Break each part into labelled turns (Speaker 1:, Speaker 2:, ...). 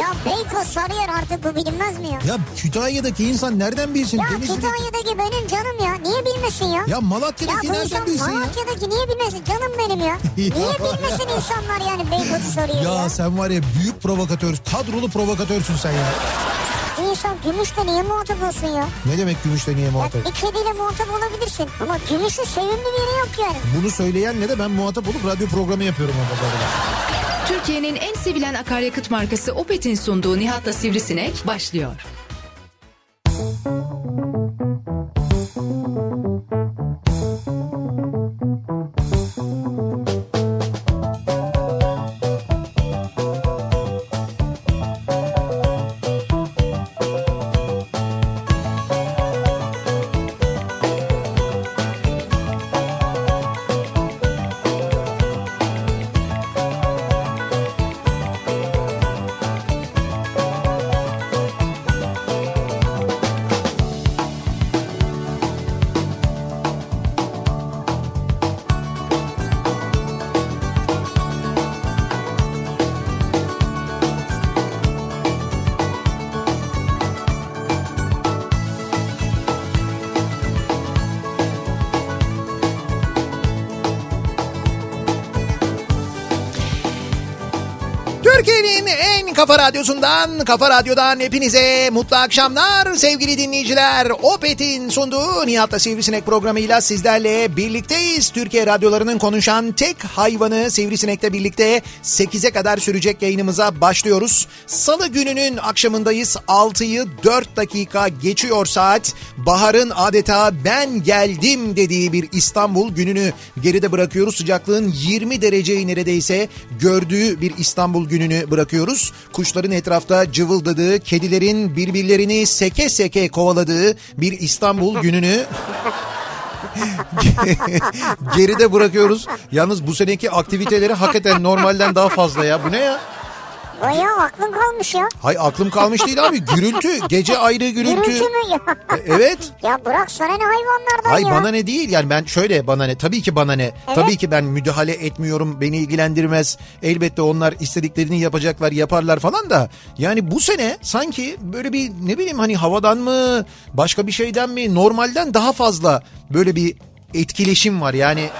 Speaker 1: Ya Beykoz Sarıyer artık bu bilinmez mi ya?
Speaker 2: Ya Kütahya'daki insan nereden bilsin?
Speaker 1: Ya
Speaker 2: Denizli'deki-
Speaker 1: Kütahya'daki benim canım ya. Niye bilmesin ya?
Speaker 2: Ya
Speaker 1: Ya
Speaker 2: Malatya'daki
Speaker 1: bu
Speaker 2: nereden
Speaker 1: insan
Speaker 2: bilsin ya?
Speaker 1: Malatya'daki niye bilmesin? Canım benim ya. Niye bilmesin insanlar yani Beykoz'u soruyor ya?
Speaker 2: Ya sen var ya büyük provokatör, kadrolu provokatörsün sen ya.
Speaker 1: İnsan gümüşle niye muhatap olsun ya?
Speaker 2: Ne demek gümüşle niye
Speaker 1: Ya
Speaker 2: muhatap?
Speaker 1: bir kediyle muhatap olabilirsin. Ama gümüşün sevimli bir yeri yok yani.
Speaker 2: Bunu söyleyenle de ben muhatap olup radyo programı yapıyorum orada. bu arada.
Speaker 3: Türkiye'nin en sevilen akaryakıt markası Opet'in sunduğu Nihat'la Sivrisinek başlıyor.
Speaker 2: Türkiye'nin en kafa radyosundan, kafa radyodan hepinize mutlu akşamlar sevgili dinleyiciler. Opet'in sunduğu Nihat'la Sivrisinek programıyla sizlerle birlikteyiz. Türkiye radyolarının konuşan tek hayvanı Sivrisinek'le birlikte 8'e kadar sürecek yayınımıza başlıyoruz. Salı gününün akşamındayız. 6'yı 4 dakika geçiyor saat. Baharın adeta ben geldim dediği bir İstanbul gününü geride bırakıyoruz. Sıcaklığın 20 dereceyi neredeyse gördüğü bir İstanbul gününü bırakıyoruz. Kuşların etrafta cıvıldadığı, kedilerin birbirlerini seke seke kovaladığı bir İstanbul gününü geride bırakıyoruz. Yalnız bu seneki aktiviteleri hakikaten normalden daha fazla ya. Bu ne ya?
Speaker 1: Bayağı aklın kalmış ya.
Speaker 2: Hay aklım kalmış değil abi. Gürültü. Gece ayrı gürültü.
Speaker 1: Gürültü mü ya?
Speaker 2: E, Evet.
Speaker 1: ya bırak sana ne hayvanlardan
Speaker 2: Ay
Speaker 1: ya.
Speaker 2: bana ne değil yani ben şöyle bana ne tabii ki bana ne tabii ki ben müdahale etmiyorum beni ilgilendirmez elbette onlar istediklerini yapacaklar yaparlar falan da yani bu sene sanki böyle bir ne bileyim hani havadan mı başka bir şeyden mi normalden daha fazla böyle bir etkileşim var yani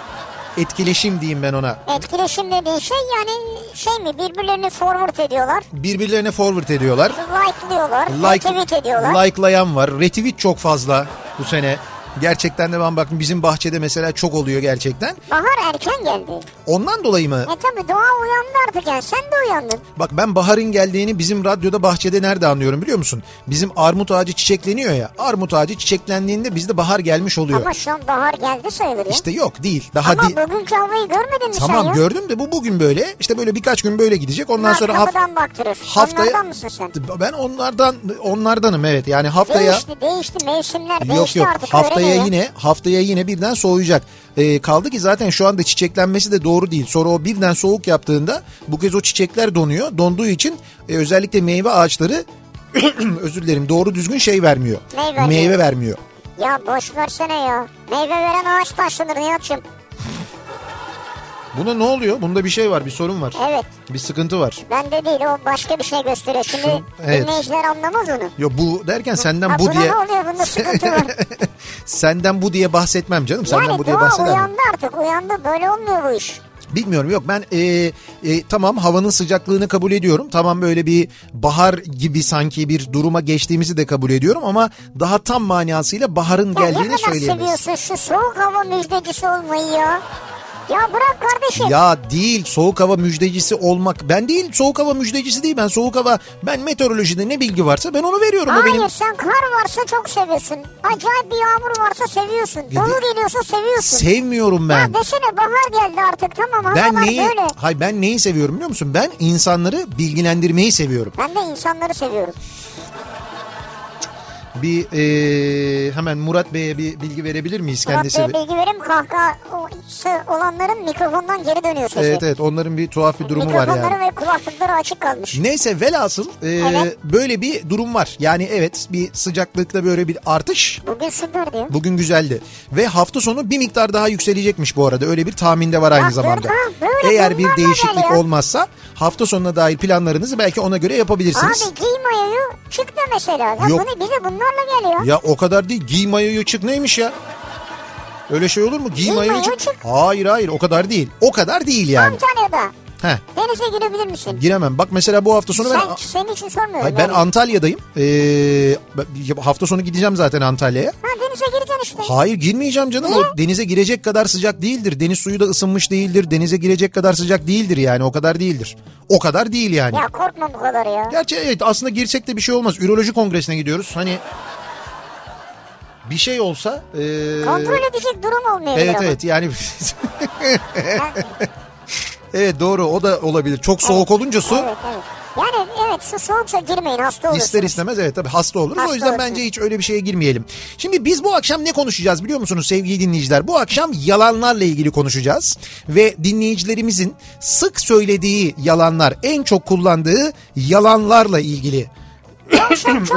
Speaker 2: etkileşim diyeyim ben ona
Speaker 1: Etkileşim dediğin şey yani şey mi birbirlerini forward ediyorlar.
Speaker 2: birbirlerine forward ediyorlar
Speaker 1: Like'lıyorlar.
Speaker 2: like,
Speaker 1: retweet ediyorlar.
Speaker 2: Likelayan var. Retweet çok fazla bu sene. Gerçekten de ben baktım bizim bahçede mesela çok oluyor gerçekten.
Speaker 1: Bahar erken geldi.
Speaker 2: Ondan dolayı mı?
Speaker 1: E tabi doğa uyandı artık yani sen de uyandın.
Speaker 2: Bak ben baharın geldiğini bizim radyoda bahçede nerede anlıyorum biliyor musun? Bizim armut ağacı çiçekleniyor ya. Armut ağacı çiçeklendiğinde bizde bahar gelmiş oluyor.
Speaker 1: Ama şu an bahar geldi sayılır ya.
Speaker 2: işte yok değil. Daha
Speaker 1: Ama şey
Speaker 2: değil.
Speaker 1: bugünkü havayı görmedin mi sen
Speaker 2: Tamam
Speaker 1: ya?
Speaker 2: gördüm de bu bugün böyle. İşte böyle birkaç gün böyle gidecek. Ondan
Speaker 1: Bunlar
Speaker 2: sonra haf-
Speaker 1: kapıdan baktırır.
Speaker 2: haftaya
Speaker 1: Onlardan mısın sen?
Speaker 2: ben onlardan onlardanım evet. Yani haftaya
Speaker 1: Değişti değişti mevsimler
Speaker 2: Yok
Speaker 1: değişti
Speaker 2: yok
Speaker 1: artık. öyle
Speaker 2: haftaya
Speaker 1: mi?
Speaker 2: yine haftaya yine birden soğuyacak. Ee, kaldı ki zaten şu anda çiçeklenmesi de doğru değil. Sonra o birden soğuk yaptığında bu kez o çiçekler donuyor. Donduğu için e, özellikle meyve ağaçları özür dilerim doğru düzgün şey vermiyor.
Speaker 1: Meyve vermiyor.
Speaker 2: vermiyor.
Speaker 1: Ya boş versene ya. Meyve veren ağaç taşlanır Nihat'cığım.
Speaker 2: Buna ne oluyor? Bunda bir şey var bir sorun var.
Speaker 1: Evet.
Speaker 2: Bir sıkıntı var.
Speaker 1: Bende değil o başka bir şey gösteriyor. Şimdi
Speaker 2: evet.
Speaker 1: dinleyiciler anlamaz onu.
Speaker 2: Yo bu derken senden
Speaker 1: Ha,
Speaker 2: bu
Speaker 1: buna
Speaker 2: diye
Speaker 1: ne oluyor bunda sıkıntı var.
Speaker 2: senden bu diye bahsetmem canım. Senden
Speaker 1: yani
Speaker 2: bu diye
Speaker 1: doğa
Speaker 2: bahsedemem.
Speaker 1: uyandı artık uyandı böyle olmuyor bu iş.
Speaker 2: Bilmiyorum yok ben e, e, tamam havanın sıcaklığını kabul ediyorum. Tamam böyle bir bahar gibi sanki bir duruma geçtiğimizi de kabul ediyorum ama daha tam manasıyla baharın
Speaker 1: Ya ne
Speaker 2: geldiğini
Speaker 1: kadar
Speaker 2: söyleyemeyiz.
Speaker 1: seviyorsun şu soğuk hava müjdecisi olmayı ya. Ya bırak kardeşim.
Speaker 2: Ya değil soğuk hava müjdecisi olmak. Ben değil soğuk hava müjdecisi değil. Ben soğuk hava ben meteorolojide ne bilgi varsa ben onu veriyorum. O
Speaker 1: Hayır
Speaker 2: benim
Speaker 1: sen kar varsa çok seviyorsun. Acayip bir yağmur varsa seviyorsun. Dolu geliyorsa seviyorsun.
Speaker 2: sevmiyorum ben.
Speaker 1: ya desene bahar geldi artık tamam havalar
Speaker 2: Ben neyi
Speaker 1: böyle.
Speaker 2: hay ben neyi seviyorum biliyor musun? Ben insanları bilgilendirmeyi seviyorum.
Speaker 1: Ben de insanları seviyorum.
Speaker 2: bir e, hemen Murat Bey'e bir bilgi verebilir miyiz kendisi?
Speaker 1: Murat Bey'e bilgi vereyim kahkaha olanların mikrofondan geri dönüyor sesi.
Speaker 2: Evet evet onların bir tuhaf bir durumu var yani.
Speaker 1: Mikrofonları ve kulaklıkları açık kalmış.
Speaker 2: Neyse velhasıl e,
Speaker 1: Evet.
Speaker 2: böyle bir durum var. Yani evet bir sıcaklıkta böyle bir artış
Speaker 1: Bugün süper diyor.
Speaker 2: bugün güzeldi. Ve hafta sonu bir miktar daha yükselecekmiş bu arada öyle bir tahminde var
Speaker 1: Ya
Speaker 2: aynı zamanda.
Speaker 1: Furkan, böyle
Speaker 2: Eğer bir
Speaker 1: bunlar ne
Speaker 2: değişiklik
Speaker 1: geliyor?
Speaker 2: olmazsa hafta sonuna dair planlarınızı belki ona göre yapabilirsiniz.
Speaker 1: Abi giy mayoyu çık da mesela. Ya
Speaker 2: Yok.
Speaker 1: bunu bize bunlarla geliyor.
Speaker 2: Ya o kadar değil giy mayoyu çık neymiş ya? Öyle şey olur mu? Giy,
Speaker 1: Giy
Speaker 2: mayoyu
Speaker 1: mayoyu
Speaker 2: çık.
Speaker 1: çık.
Speaker 2: Hayır hayır o kadar değil. O kadar değil yani.
Speaker 1: Bir tane daha.
Speaker 2: Heh,
Speaker 1: Denize girebilir misin?
Speaker 2: giremem. Bak mesela bu hafta sonu ben...
Speaker 1: Sen, senin için sormuyorum.
Speaker 2: Hayır, ben
Speaker 1: yani.
Speaker 2: Antalya'dayım. Ee, ben- hafta sonu gideceğim zaten Antalya'ya.
Speaker 1: Ha denize gireceksin işte.
Speaker 2: Hayır girmeyeceğim canım. O denize girecek kadar sıcak değildir. Deniz suyu da ısınmış değildir. Denize girecek kadar sıcak değildir yani. O kadar değildir. O kadar değil yani.
Speaker 1: Ya korkma bu kadar ya.
Speaker 2: Gerçi evet aslında girsek de bir şey olmaz. Üroloji kongresine gidiyoruz. Hani bir şey olsa... ee,
Speaker 1: Kontrol edecek durum olmuyor.
Speaker 2: Evet evet yani... evet doğru o da olabilir. Çok soğuk olunca su...
Speaker 1: Evet evet. Yani evet su soğuksa girmeyin hasta olursunuz.
Speaker 2: İster istemez evet tabii hasta oluruz. o
Speaker 1: Hasta
Speaker 2: yüzden
Speaker 1: olursunuz.
Speaker 2: bence hiç öyle bir şeye girmeyelim. Şimdi biz bu akşam ne konuşacağız biliyor musunuz sevgili dinleyiciler? Bu akşam yalanlarla ilgili konuşacağız. Ve dinleyicilerimizin sık söylediği yalanlar, en çok kullandığı yalanlarla ilgili
Speaker 1: çok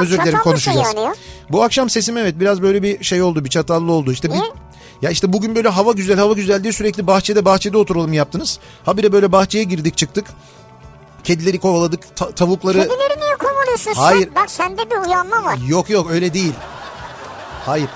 Speaker 2: özür dilerim
Speaker 1: çatal
Speaker 2: konuşacağız.
Speaker 1: mısın yani ya?
Speaker 2: Bu akşam sesim evet biraz böyle bir şey oldu, bir çatallı oldu. İşte bir
Speaker 1: Niye?
Speaker 2: ya işte bugün böyle hava güzel hava güzel diye sürekli bahçede bahçede oturalım yaptınız. Habire böyle bahçeye girdik çıktık. Kedileri kovaladık, ta- tavukları
Speaker 1: Kedileri niye kovalıyorsun
Speaker 2: Hayır.
Speaker 1: sen? Bak sende bir uyanma var.
Speaker 2: Yok yok öyle değil. Hayır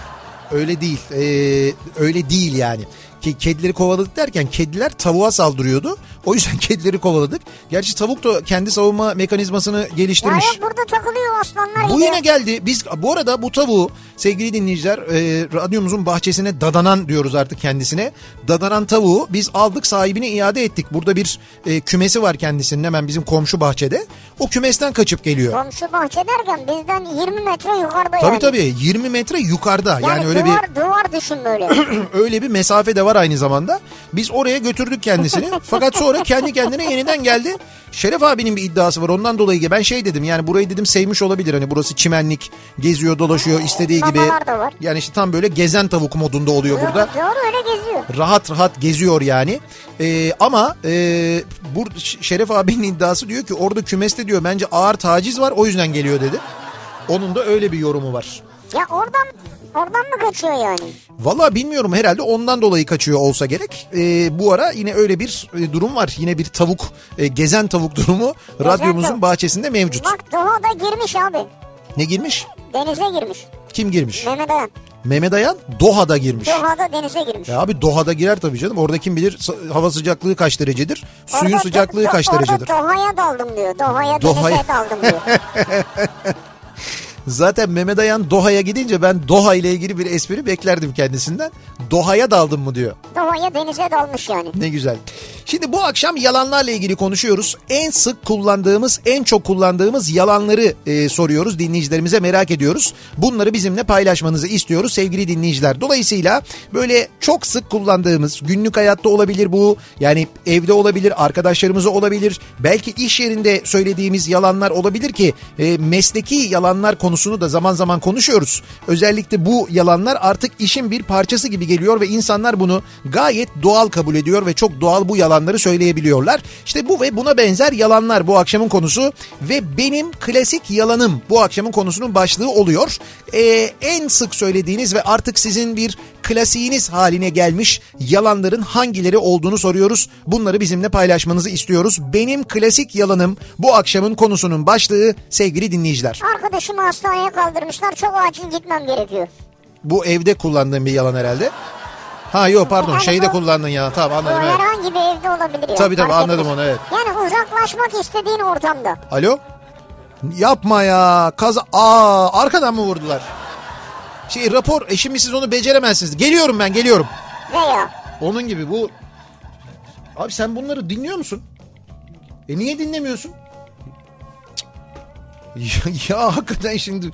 Speaker 2: öyle değil. Ee, öyle değil yani. Ki kedileri kovaladık derken kediler tavuğa saldırıyordu. O yüzden kedileri kovaladık. Gerçi tavuk da kendi savunma mekanizmasını
Speaker 1: Ya
Speaker 2: geliştirmiş.
Speaker 1: yok burada takılıyor aslanlar
Speaker 2: Bu
Speaker 1: gibi.
Speaker 2: yine geldi. Biz bu arada bu tavuğu sevgili dinleyiciler e, radyomuzun bahçesine dadanan diyoruz artık kendisine. Dadanan tavuğu biz aldık sahibine iade ettik. Burada bir e, kümesi var kendisinin hemen bizim komşu bahçede. O kümesten kaçıp geliyor.
Speaker 1: Komşu bahçe derken bizden 20 metre yukarıda
Speaker 2: Tabii
Speaker 1: yani.
Speaker 2: tabii 20 metre yukarıda. Yani,
Speaker 1: Yani,
Speaker 2: öyle bir
Speaker 1: duvar, duvar düşün böyle.
Speaker 2: öyle bir mesafe de var aynı zamanda. Biz oraya götürdük kendisini. Fakat sonra kendi kendine yeniden geldi. Şeref abinin bir iddiası var. Ondan dolayı ki ben şey dedim yani burayı dedim sevmiş olabilir. Hani burası çimenlik geziyor dolaşıyor istediği gibi.
Speaker 1: Babalar da var.
Speaker 2: Yani işte tam böyle gezen tavuk modunda oluyor burada.
Speaker 1: Doğru öyle geziyor.
Speaker 2: Rahat rahat geziyor yani. Ee, ama e, bur- Ş- Şeref abinin iddiası diyor ki orada kümeste diyor bence ağır taciz var o yüzden geliyor dedi. Onun da öyle bir yorumu var.
Speaker 1: Ya oradan oradan mı kaçıyor yani?
Speaker 2: Valla bilmiyorum herhalde ondan dolayı kaçıyor olsa gerek. Ee, bu ara yine öyle bir e, durum var. Yine bir tavuk, e, gezen tavuk durumu radyomuzun
Speaker 1: tavuk.
Speaker 2: bahçesinde mevcut.
Speaker 1: Bak Doğa da girmiş abi.
Speaker 2: Ne girmiş?
Speaker 1: Denize girmiş.
Speaker 2: Kim girmiş?
Speaker 1: Mehmet Ayan.
Speaker 2: Mehmet Ayan Doha'da girmiş.
Speaker 1: Doha'da denize girmiş.
Speaker 2: Ya abi Doha'da girer tabii canım. Orada kim bilir sa- hava sıcaklığı kaç derecedir? Suyun
Speaker 1: Orada-
Speaker 2: sıcaklığı
Speaker 1: Do-
Speaker 2: kaç
Speaker 1: orada
Speaker 2: derecedir?
Speaker 1: Doha'ya daldım diyor. Doha'ya
Speaker 2: Doha'ya-
Speaker 1: denize daldım diyor.
Speaker 2: Zaten Mehmet Ayan Doha'ya gidince ben Doha ile ilgili bir espri beklerdim kendisinden. Doha'ya daldım mı diyor.
Speaker 1: Doha'ya denize dalmış yani.
Speaker 2: Ne güzel. Şimdi bu akşam yalanlarla ilgili konuşuyoruz. En sık kullandığımız, en çok kullandığımız yalanları e, soruyoruz dinleyicilerimize merak ediyoruz. Bunları bizimle paylaşmanızı istiyoruz sevgili dinleyiciler. Dolayısıyla böyle çok sık kullandığımız günlük hayatta olabilir bu. Yani evde olabilir, arkadaşlarımıza olabilir. Belki iş yerinde söylediğimiz yalanlar olabilir ki e, mesleki yalanlar konusunu da zaman zaman konuşuyoruz. Özellikle bu yalanlar artık işin bir parçası gibi geliyor ve insanlar bunu gayet doğal kabul ediyor ve çok doğal bu yalanları söyleyebiliyorlar. İşte bu ve buna benzer yalanlar bu akşamın konusu ve benim klasik yalanım bu akşamın konusunun başlığı oluyor. Ee, en sık söylediğiniz ve artık sizin bir klasiğiniz haline gelmiş yalanların hangileri olduğunu soruyoruz. Bunları bizimle paylaşmanızı istiyoruz. Benim klasik yalanım bu akşamın konusunun başlığı sevgili dinleyiciler.
Speaker 1: Arkadaşımı hastaneye kaldırmışlar. Çok acil gitmem gerekiyor.
Speaker 2: Bu evde kullandığım bir yalan herhalde. Ha yok pardon
Speaker 1: Yani
Speaker 2: şeyde
Speaker 1: bu-
Speaker 2: kullandın yalan tamam
Speaker 1: Bu
Speaker 2: anladım evet.
Speaker 1: herhangi bir evde olabilir yani.
Speaker 2: Tabii, tabii,
Speaker 1: Fark
Speaker 2: anladım
Speaker 1: etmez.
Speaker 2: onu, evet.
Speaker 1: Yani uzaklaşmak istediğin ortamda.
Speaker 2: Alo? Yapma ya. Kaza... Aa arkadan mı vurdular? Şey rapor e şimdi siz onu beceremezsiniz. Geliyorum ben geliyorum.
Speaker 1: Veya
Speaker 2: Onun gibi bu... Abi sen bunları dinliyor musun? E niye dinlemiyorsun? Cık. Ya, ya hakikaten şimdi...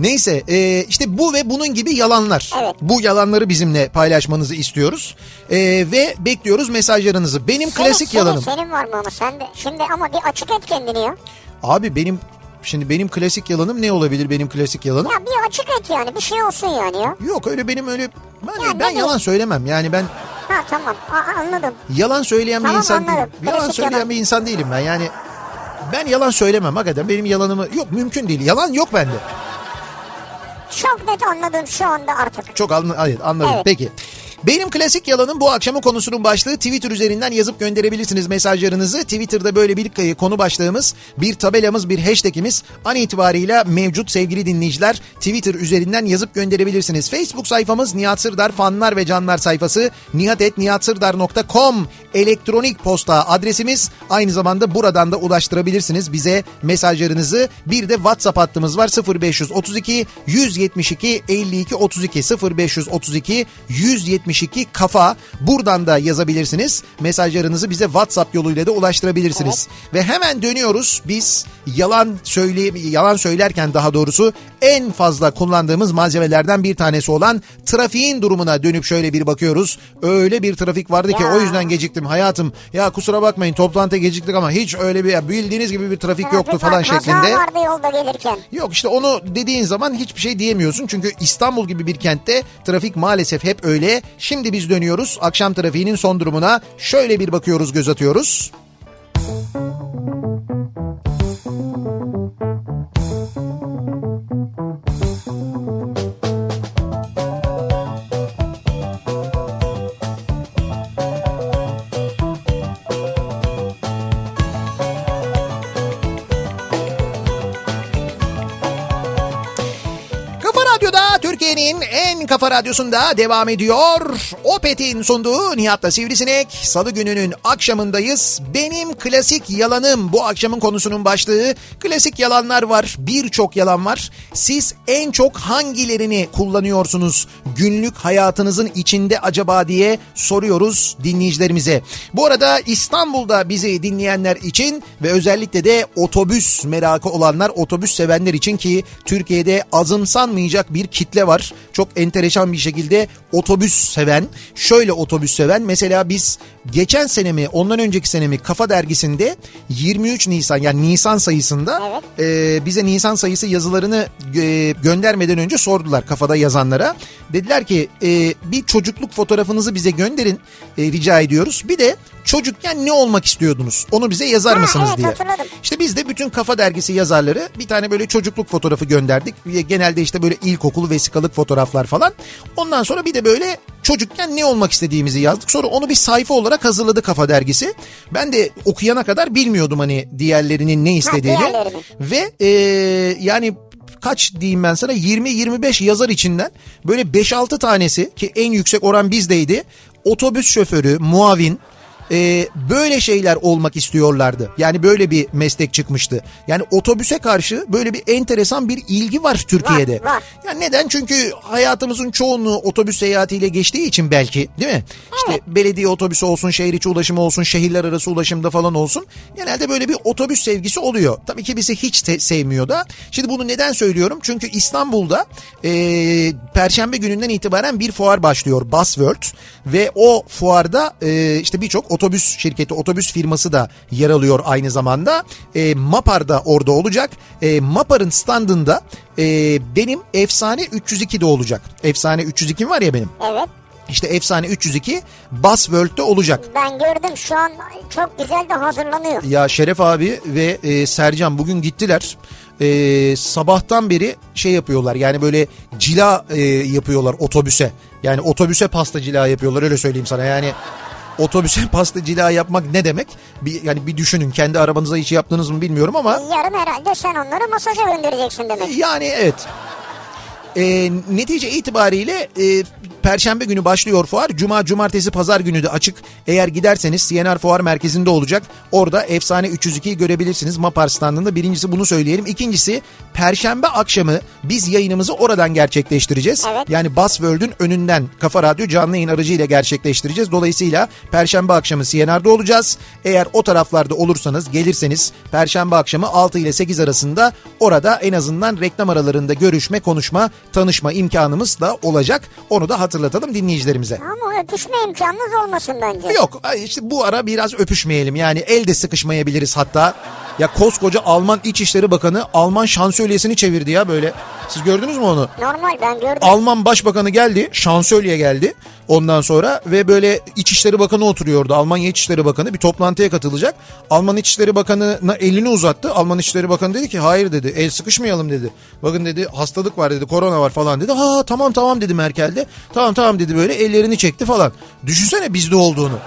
Speaker 2: Neyse e, işte bu ve bunun gibi yalanlar.
Speaker 1: Evet.
Speaker 2: Bu yalanları bizimle paylaşmanızı istiyoruz. E, ve bekliyoruz mesajlarınızı. Benim klasik
Speaker 1: senin,
Speaker 2: yalanım.
Speaker 1: Senin, senin var mı ama sen de şimdi ama bir açık et kendini ya.
Speaker 2: Abi benim şimdi benim klasik yalanım ne olabilir benim klasik yalanım?
Speaker 1: Ya bir açık et yani bir şey olsun yani ya.
Speaker 2: Yok öyle benim öyle... Ben,
Speaker 1: Ya ne
Speaker 2: ben
Speaker 1: bu?
Speaker 2: yalan söylemem yani ben
Speaker 1: Ha tamam Aa, anladım.
Speaker 2: yalan söyleyen bir
Speaker 1: Tamam,
Speaker 2: insan
Speaker 1: anladım.
Speaker 2: değilim. Yalan
Speaker 1: Klasik
Speaker 2: söyleyen
Speaker 1: yalan.
Speaker 2: bir insan değilim ben yani. Ben yalan söylemem hakikaten benim yalanımı... Yok mümkün değil yalan yok bende.
Speaker 1: Çok net anladım şu anda artık.
Speaker 2: Çok anla- hayır, anladım.
Speaker 1: Evet.
Speaker 2: Peki. Benim klasik yalanım bu akşamın konusunun başlığı Twitter üzerinden yazıp gönderebilirsiniz mesajlarınızı. Twitter'da böyle bir e, konu başlığımız, bir tabelamız, bir hashtagimiz an itibariyle mevcut sevgili dinleyiciler. Twitter üzerinden yazıp gönderebilirsiniz. Facebook sayfamız Nihat Sırdar fanlar ve canlar sayfası nihatetnihatsırdar.com elektronik posta adresimiz. Aynı zamanda buradan da ulaştırabilirsiniz bize mesajlarınızı. Bir de WhatsApp hattımız var 0532 172 52 32 0532 172 kafa. Buradan da yazabilirsiniz. Mesajlarınızı bize WhatsApp yoluyla da ulaştırabilirsiniz. Ve hemen dönüyoruz. Biz yalan söyle yalan söylerken daha doğrusu en fazla kullandığımız malzemelerden bir tanesi olan trafiğin durumuna dönüp şöyle bir bakıyoruz. Öyle bir trafik vardı ki
Speaker 1: Ya.
Speaker 2: o yüzden geciktim hayatım. Ya kusura bakmayın toplantıya geciktik ama hiç öyle bir bildiğiniz gibi bir trafik yoktu
Speaker 1: Trafik
Speaker 2: falan
Speaker 1: var, kaza
Speaker 2: şeklinde.
Speaker 1: vardı yolda gelirken.
Speaker 2: Yok işte onu dediğin zaman hiçbir şey diyemiyorsun. Çünkü İstanbul gibi bir kentte trafik maalesef hep öyle. Şimdi biz dönüyoruz. Akşam trafiğinin son durumuna şöyle bir bakıyoruz, göz atıyoruz. Kafa Radyo'da Türkiye'nin en kafa radyosunda devam ediyor. Opet'in sunduğu Nihat'la Sivrisinek. Salı gününün akşamındayız. Benim klasik yalanım bu akşamın konusunun başlığı. Klasik yalanlar var. Birçok yalan var. Siz en çok hangilerini kullanıyorsunuz? Günlük hayatınızın içinde acaba diye soruyoruz dinleyicilerimize. Bu arada İstanbul'da bizi dinleyenler için ve özellikle de otobüs merakı olanlar, otobüs sevenler için ki Türkiye'de azımsanmayacak bir kitle var. Çok enteresan bir şekilde otobüs seven, şöyle otobüs seven. Mesela biz geçen sene mi, ondan önceki sene mi Kafa Dergisi'nde 23 Nisan yani Nisan sayısında e, bize Nisan sayısı yazılarını e, göndermeden önce sordular kafada yazanlara. Dediler ki e, bir çocukluk fotoğrafınızı bize gönderin e, rica ediyoruz. Bir de çocukken ne olmak istiyordunuz onu bize yazar
Speaker 1: Ha,
Speaker 2: mısınız
Speaker 1: evet,
Speaker 2: diye.
Speaker 1: hatırladım.
Speaker 2: İşte biz de bütün Kafa Dergisi yazarları bir tane böyle çocukluk fotoğrafı gönderdik. E, Genelde işte böyle ilkokul vesikalık fotoğraflar falan. Ondan sonra bir de böyle çocukken ne olmak istediğimizi yazdık. Sonra onu bir sayfa olarak hazırladı Kafa Dergisi. Ben de okuyana kadar bilmiyordum hani diğerlerinin ne istediğini.
Speaker 1: diğerlerinin.
Speaker 2: Ve e, yani kaç diyeyim ben sana 20-25 yazar içinden böyle 5-6 tanesi ki en yüksek oran bizdeydi. Otobüs şoförü, muavin e, böyle şeyler olmak istiyorlardı. Yani böyle bir meslek çıkmıştı. Yani otobüse karşı böyle bir enteresan bir ilgi var Türkiye'de.
Speaker 1: Var, var.
Speaker 2: Ya neden? Çünkü hayatımızın çoğunluğu otobüs seyahatiyle geçtiği için belki değil mi? İşte belediye otobüsü olsun, şehir içi ulaşımı olsun, şehirler arası ulaşımda falan olsun. Genelde böyle bir otobüs sevgisi oluyor. Tabii ki bizi hiç te- sevmiyor da. Şimdi bunu neden söylüyorum? Çünkü İstanbul'da eee, Perşembe gününden itibaren bir fuar başlıyor. Busworld ve o fuarda eee, işte birçok otobüs şirketi, otobüs firması da yer alıyor aynı zamanda. Eee Mapar da orada olacak. Eee Mapar'ın standında eee, Ee, benim efsane 302 de olacak. Efsane 302 var ya benim.
Speaker 1: Evet
Speaker 2: İşte efsane 302 Busworld'de olacak.
Speaker 1: ben gördüm şu an çok güzel de hazırlanıyor.
Speaker 2: Ya Şeref abi ve e, Sercan bugün gittiler. E, sabahtan beri şey yapıyorlar yani böyle cila e, yapıyorlar otobüse. Yani otobüse pasta cila yapıyorlar öyle söyleyeyim sana yani. Otobüse pasta cila yapmak ne demek? Bir, yani bir düşünün kendi arabanıza hiç yaptınız mı bilmiyorum ama
Speaker 1: E, Yarın herhalde sen onları masaja göndereceksin demek.
Speaker 2: yani evet. E, netice itibariyle e, Perşembe günü başlıyor fuar. Cuma, cumartesi, pazar günü de açık. Eğer giderseniz CNR Fuar Merkezi'nde olacak. Orada Efsane 302'yi görebilirsiniz Mapar standında. Birincisi bunu söyleyelim. İkincisi Perşembe akşamı biz yayınımızı oradan gerçekleştireceğiz.
Speaker 1: Evet.
Speaker 2: Yani Buzzworld'ün önünden Kafa Radyo canlı yayın aracıyla gerçekleştireceğiz. Dolayısıyla Perşembe akşamı CNR'da olacağız. Eğer o taraflarda olursanız, gelirseniz Perşembe akşamı 6 ile 8 arasında orada en azından reklam aralarında görüşme, konuşma, tanışma imkanımız da olacak. Onu da hatırlatalım dinleyicilerimize.
Speaker 1: Ama öpüşme imkanınız olmasın bence.
Speaker 2: Yok ay işte bu ara biraz öpüşmeyelim yani elde sıkışmayabiliriz hatta. Ya koskoca Alman İçişleri Bakanı Alman şansölyesini çevirdi ya böyle. Siz gördünüz mü onu?
Speaker 1: Normal ben gördüm.
Speaker 2: Alman Başbakanı geldi, şansölye geldi ondan sonra ve böyle İçişleri Bakanı oturuyordu. Almanya İçişleri Bakanı bir toplantıya katılacak. Alman İçişleri Bakanı'na elini uzattı. Alman İçişleri Bakanı dedi ki hayır dedi el sıkışmayalım dedi. Bakın dedi hastalık var dedi korona var falan dedi. Ha tamam tamam dedi Merkel de. Tamam tamam dedi böyle ellerini çekti falan. Düşünsene bizde olduğunu.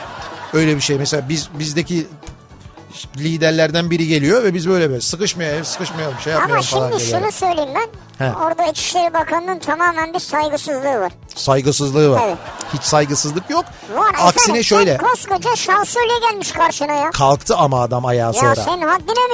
Speaker 2: Öyle bir şey mesela biz bizdeki liderlerden biri geliyor ve biz böyle böyle sıkışmayalım sıkışmayalım şey
Speaker 1: Ama
Speaker 2: yapmayalım falan.
Speaker 1: şimdi
Speaker 2: diyorlar.
Speaker 1: şunu söyleyeyim ben.
Speaker 2: He.
Speaker 1: Orada İçişleri Bakanı'nın tamamen bir saygısızlığı var.
Speaker 2: Saygısızlığı var.
Speaker 1: Evet.
Speaker 2: Hiç saygısızlık yok.
Speaker 1: Var
Speaker 2: Aksine
Speaker 1: efendim,
Speaker 2: şöyle.
Speaker 1: Sen koskoca şansölye gelmiş karşına ya.
Speaker 2: Kalktı ama adam ayağa
Speaker 1: Ya
Speaker 2: sonra.
Speaker 1: senin haddine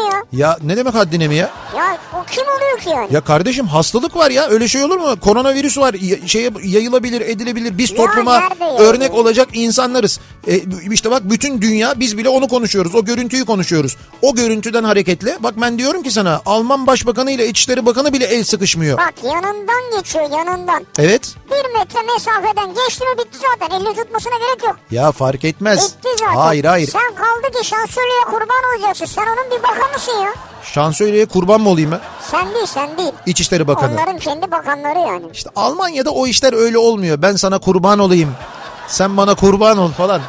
Speaker 1: mi ya?
Speaker 2: Ya ne demek haddine mi ya?
Speaker 1: Ya o kim oluyor ki yani?
Speaker 2: Ya kardeşim hastalık var ya öyle şey olur mu? Koronavirüs var ya- şeye yayılabilir edilebilir biz
Speaker 1: Ya
Speaker 2: topluma
Speaker 1: nerede yani?
Speaker 2: örnek olacak insanlarız. E, işte bak bütün dünya biz bile onu konuşuyoruz o görüntüyü konuşuyoruz. O görüntüden hareketle bak ben diyorum ki sana Alman Başbakanı ile İçişleri Bakanı bile el sıkışmıyor.
Speaker 1: Bak yanından geçiyor yanından.
Speaker 2: Evet
Speaker 1: Bir metre mesafeden geçti mi bitti zaten. Elini tutmasına gerek yok.
Speaker 2: ya fark etmez.
Speaker 1: Bitti zaten.
Speaker 2: Hayır hayır
Speaker 1: Sen kaldı ki şansölyeye kurban olacaksın. Sen onun bir bakanısın ya.
Speaker 2: şansölyeye kurban mı olayım ben?
Speaker 1: Sen değil sen değil.
Speaker 2: İçişleri Bakanı.
Speaker 1: Onların kendi bakanları yani.
Speaker 2: İşte Almanya'da o işler öyle olmuyor. Ben sana kurban olayım. Sen bana kurban ol falan.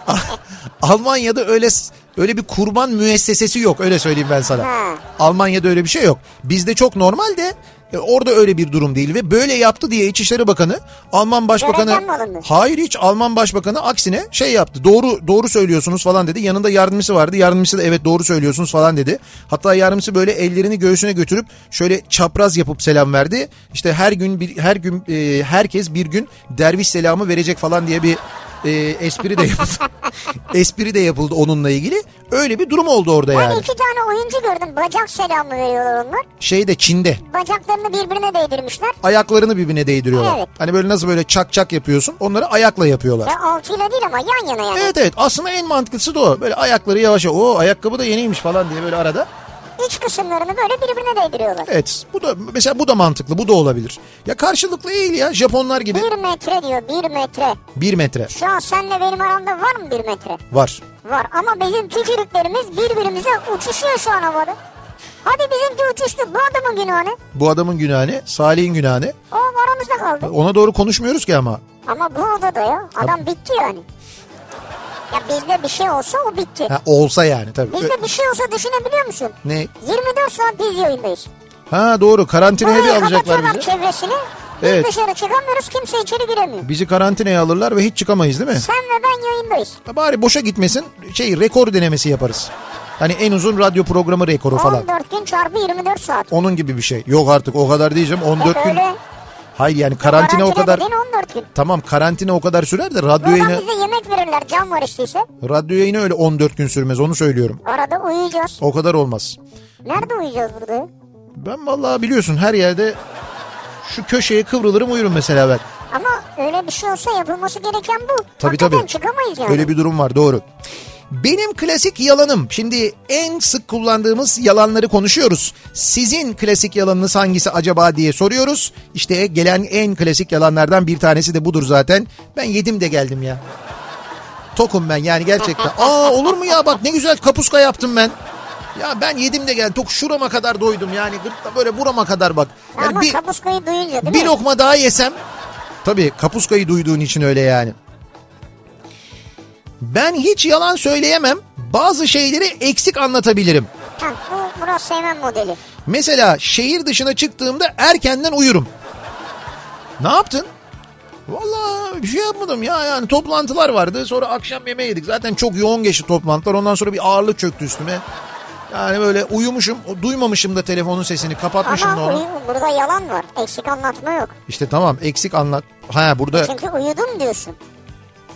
Speaker 2: Almanya'da öyle öyle bir kurban müessesesi yok öyle söyleyeyim ben sana.
Speaker 1: Ha.
Speaker 2: Almanya'da öyle bir şey yok. Bizde çok normal de e, orada öyle bir durum değil ve böyle yaptı diye İçişleri Bakanı Alman Başbakanı
Speaker 1: Görevden mi alındı?
Speaker 2: Hayır hiç Alman Başbakanı aksine şey yaptı. Doğru doğru söylüyorsunuz falan dedi. Yanında yardımcısı vardı. Yardımcısı da evet doğru söylüyorsunuz falan dedi. Hatta yardımcısı böyle ellerini göğsüne götürüp şöyle çapraz yapıp selam verdi. İşte her gün bir her gün e, herkes bir gün derviş selamı verecek falan diye bir e, espri de yapıldı. espri de yapıldı onunla ilgili. Öyle bir durum oldu orada
Speaker 1: Ben
Speaker 2: yani.
Speaker 1: iki tane oyuncu gördüm. Bacak selamı veriyorlar onlar.
Speaker 2: Şeyde Şey Çin'de
Speaker 1: Bacaklarını birbirine değdirmişler.
Speaker 2: ayaklarını birbirine değdiriyorlar.
Speaker 1: Evet.
Speaker 2: Hani böyle nasıl böyle çak çak yapıyorsun onları ayakla yapıyorlar.
Speaker 1: Ya altıyla değil ama yan yana yani.
Speaker 2: Evet evet aslında en mantıklısı da o. Böyle ayakları yavaş yavaş o ayakkabı da yeniymiş falan diye böyle arada.
Speaker 1: İç kısımlarını böyle birbirine değdiriyorlar.
Speaker 2: Evet bu da mesela bu da mantıklı bu da olabilir. Ya karşılıklı değil ya Japonlar gibi.
Speaker 1: Bir metre diyor bir metre.
Speaker 2: Bir metre
Speaker 1: Şu an senle benim aramda var mı bir metre?
Speaker 2: var.
Speaker 1: Var ama bizim tükürüklerimiz birbirimize uçuşuyor şu an havada. Hadi bizimki uçuştu bu adamın günahı.
Speaker 2: Bu adamın günahı ne? Salih'in günahı ne?
Speaker 1: hani? O aramızda kaldı.
Speaker 2: Ona doğru konuşmuyoruz ki ama.
Speaker 1: Ama bu odada ya adam bitti yani. Ya bizde bir şey olsa o bitti.
Speaker 2: Ha, olsa yani tabii.
Speaker 1: Bizde bir şey olsa düşünebiliyor musun?
Speaker 2: e- Ne?
Speaker 1: 24 saat biz yayındayız.
Speaker 2: Ha doğru karantinaya bir
Speaker 1: Burayı
Speaker 2: alacaklar
Speaker 1: kapatıyorlar
Speaker 2: bizi.
Speaker 1: çevresini. Biz
Speaker 2: Evet.
Speaker 1: dışarı çıkamıyoruz kimse içeri giremiyor.
Speaker 2: Bizi karantinaya alırlar ve hiç çıkamayız değil mi?
Speaker 1: Sen ve ben yayındayız.
Speaker 2: Ya Bari boşa gitmesin şey rekor denemesi yaparız. Hani en uzun radyo programı rekoru falan.
Speaker 1: 14 gün çarpı 24 saat. E
Speaker 2: Onun gibi bir şey. Yok artık o kadar diyeceğim 14 gün.
Speaker 1: Öyle.
Speaker 2: Hayır yani karantina o kadar
Speaker 1: dediğin 14 gün.
Speaker 2: tamam karantina o kadar sürer de radyo
Speaker 1: Buradan
Speaker 2: yayını
Speaker 1: bize yemek verirler cam var işteyse.
Speaker 2: radyo yayını öyle 14 gün sürmez onu söylüyorum.
Speaker 1: Arada uyuyacağız.
Speaker 2: O kadar olmaz.
Speaker 1: Nerede uyuyacağız burada? ya?
Speaker 2: Ben vallahi biliyorsun her yerde şu köşeye kıvrılırım uyurum mesela ben.
Speaker 1: Ama öyle bir şey olsa yapılması gereken bu.
Speaker 2: Tabii
Speaker 1: Hakikaten
Speaker 2: tabii.
Speaker 1: çıkamayız yani.
Speaker 2: Öyle bir durum var doğru. Benim klasik yalanım. Şimdi en sık kullandığımız yalanları konuşuyoruz. Sizin klasik yalanınız hangisi acaba diye soruyoruz. İşte gelen en klasik yalanlardan bir tanesi de budur zaten. Ben yedim de geldim ya. Tokum ben yani gerçekten. Aa olur mu ya bak ne güzel kapuska yaptım ben. Ya ben yedim de geldim. Tok şurama kadar doydum yani. gırtla Böyle burama kadar bak. Yani
Speaker 1: Ama
Speaker 2: bir-
Speaker 1: kapuskayı duyunca değil
Speaker 2: bir
Speaker 1: mi?
Speaker 2: lokma daha yesem. Tabii kapuskayı duyduğun için öyle yani. Ben hiç yalan söyleyemem. Bazı şeyleri eksik anlatabilirim.
Speaker 1: Ha, bu Murat Seymen modeli.
Speaker 2: Mesela şehir dışına çıktığımda erkenden uyurum. Ne yaptın? Vallahi bir şey yapmadım ya yani toplantılar vardı sonra akşam yemeği yedik zaten çok yoğun geçti toplantılar ondan sonra bir ağırlık çöktü üstüme. Yani böyle uyumuşum o- duymamışım da telefonun sesini kapatmışım da
Speaker 1: Ama
Speaker 2: onu.
Speaker 1: uyu- burada yalan var. Eksik anlatma yok.
Speaker 2: İşte tamam eksik anlat. Ha burada
Speaker 1: Çünkü uyudum diyorsun.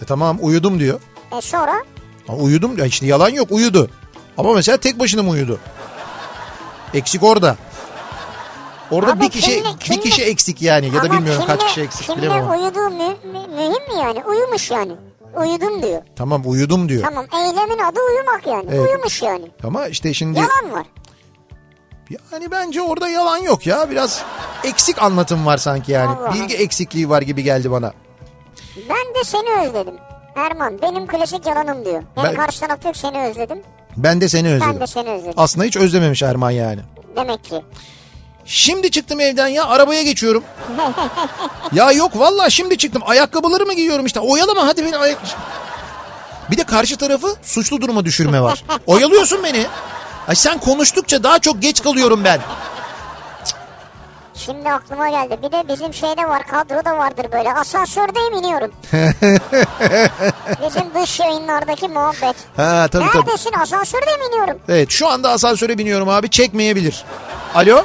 Speaker 2: e, tamam uyudum diyor.
Speaker 1: E sonra
Speaker 2: Ha, uyudum ya işte yalan yok uyudu. Ama mesela tek başına mı uyudu? Eksik orada. Orada
Speaker 1: Ama
Speaker 2: bir kişi
Speaker 1: kimle- kimle-
Speaker 2: bir kişi eksik yani ya da
Speaker 1: ama
Speaker 2: bilmiyorum kaç
Speaker 1: kimle-
Speaker 2: kişi eksik
Speaker 1: kimle
Speaker 2: bilemem. ama.
Speaker 1: uyuduğu mü, mü- mühim mi yani? Uyumuş yani. Uyudum diyor.
Speaker 2: Tamam uyudum diyor.
Speaker 1: Tamam eylemin adı uyumak yani.
Speaker 2: Evet.
Speaker 1: Uyumuş yani.
Speaker 2: Ama işte şimdi
Speaker 1: Yalan var.
Speaker 2: yani bence orada yalan yok ya. Biraz eksik anlatım var sanki yani.
Speaker 1: Allah.
Speaker 2: Bilgi eksikliği var gibi geldi bana.
Speaker 1: Ben de seni özledim. Erman benim klasik yalanım diyor. Hem
Speaker 2: Ben-
Speaker 1: karşı taraf diyor ki seni özledim.
Speaker 2: Ben de seni özledim.
Speaker 1: Ben de seni özledim.
Speaker 2: Aslında hiç özlememiş Erman yani.
Speaker 1: Demek ki.
Speaker 2: Şimdi çıktım evden ya arabaya geçiyorum. ya yok valla şimdi çıktım. Ayakkabıları mı giyiyorum işte. Oyalama hadi beni ayak... Bir de karşı tarafı suçlu duruma düşürme var. Oyalıyorsun beni. Ay sen konuştukça daha çok geç kalıyorum ben.
Speaker 1: Şimdi aklıma geldi. Bir de bizim şeyde var kadroda vardır böyle. Asansördeyim iniyorum. bizim dış yayınlardaki muhabbet.
Speaker 2: Ha tabii tabii.
Speaker 1: Neredesin asansördeyim iniyorum.
Speaker 2: Evet şu anda asansöre biniyorum abi çekmeyebilir. Alo?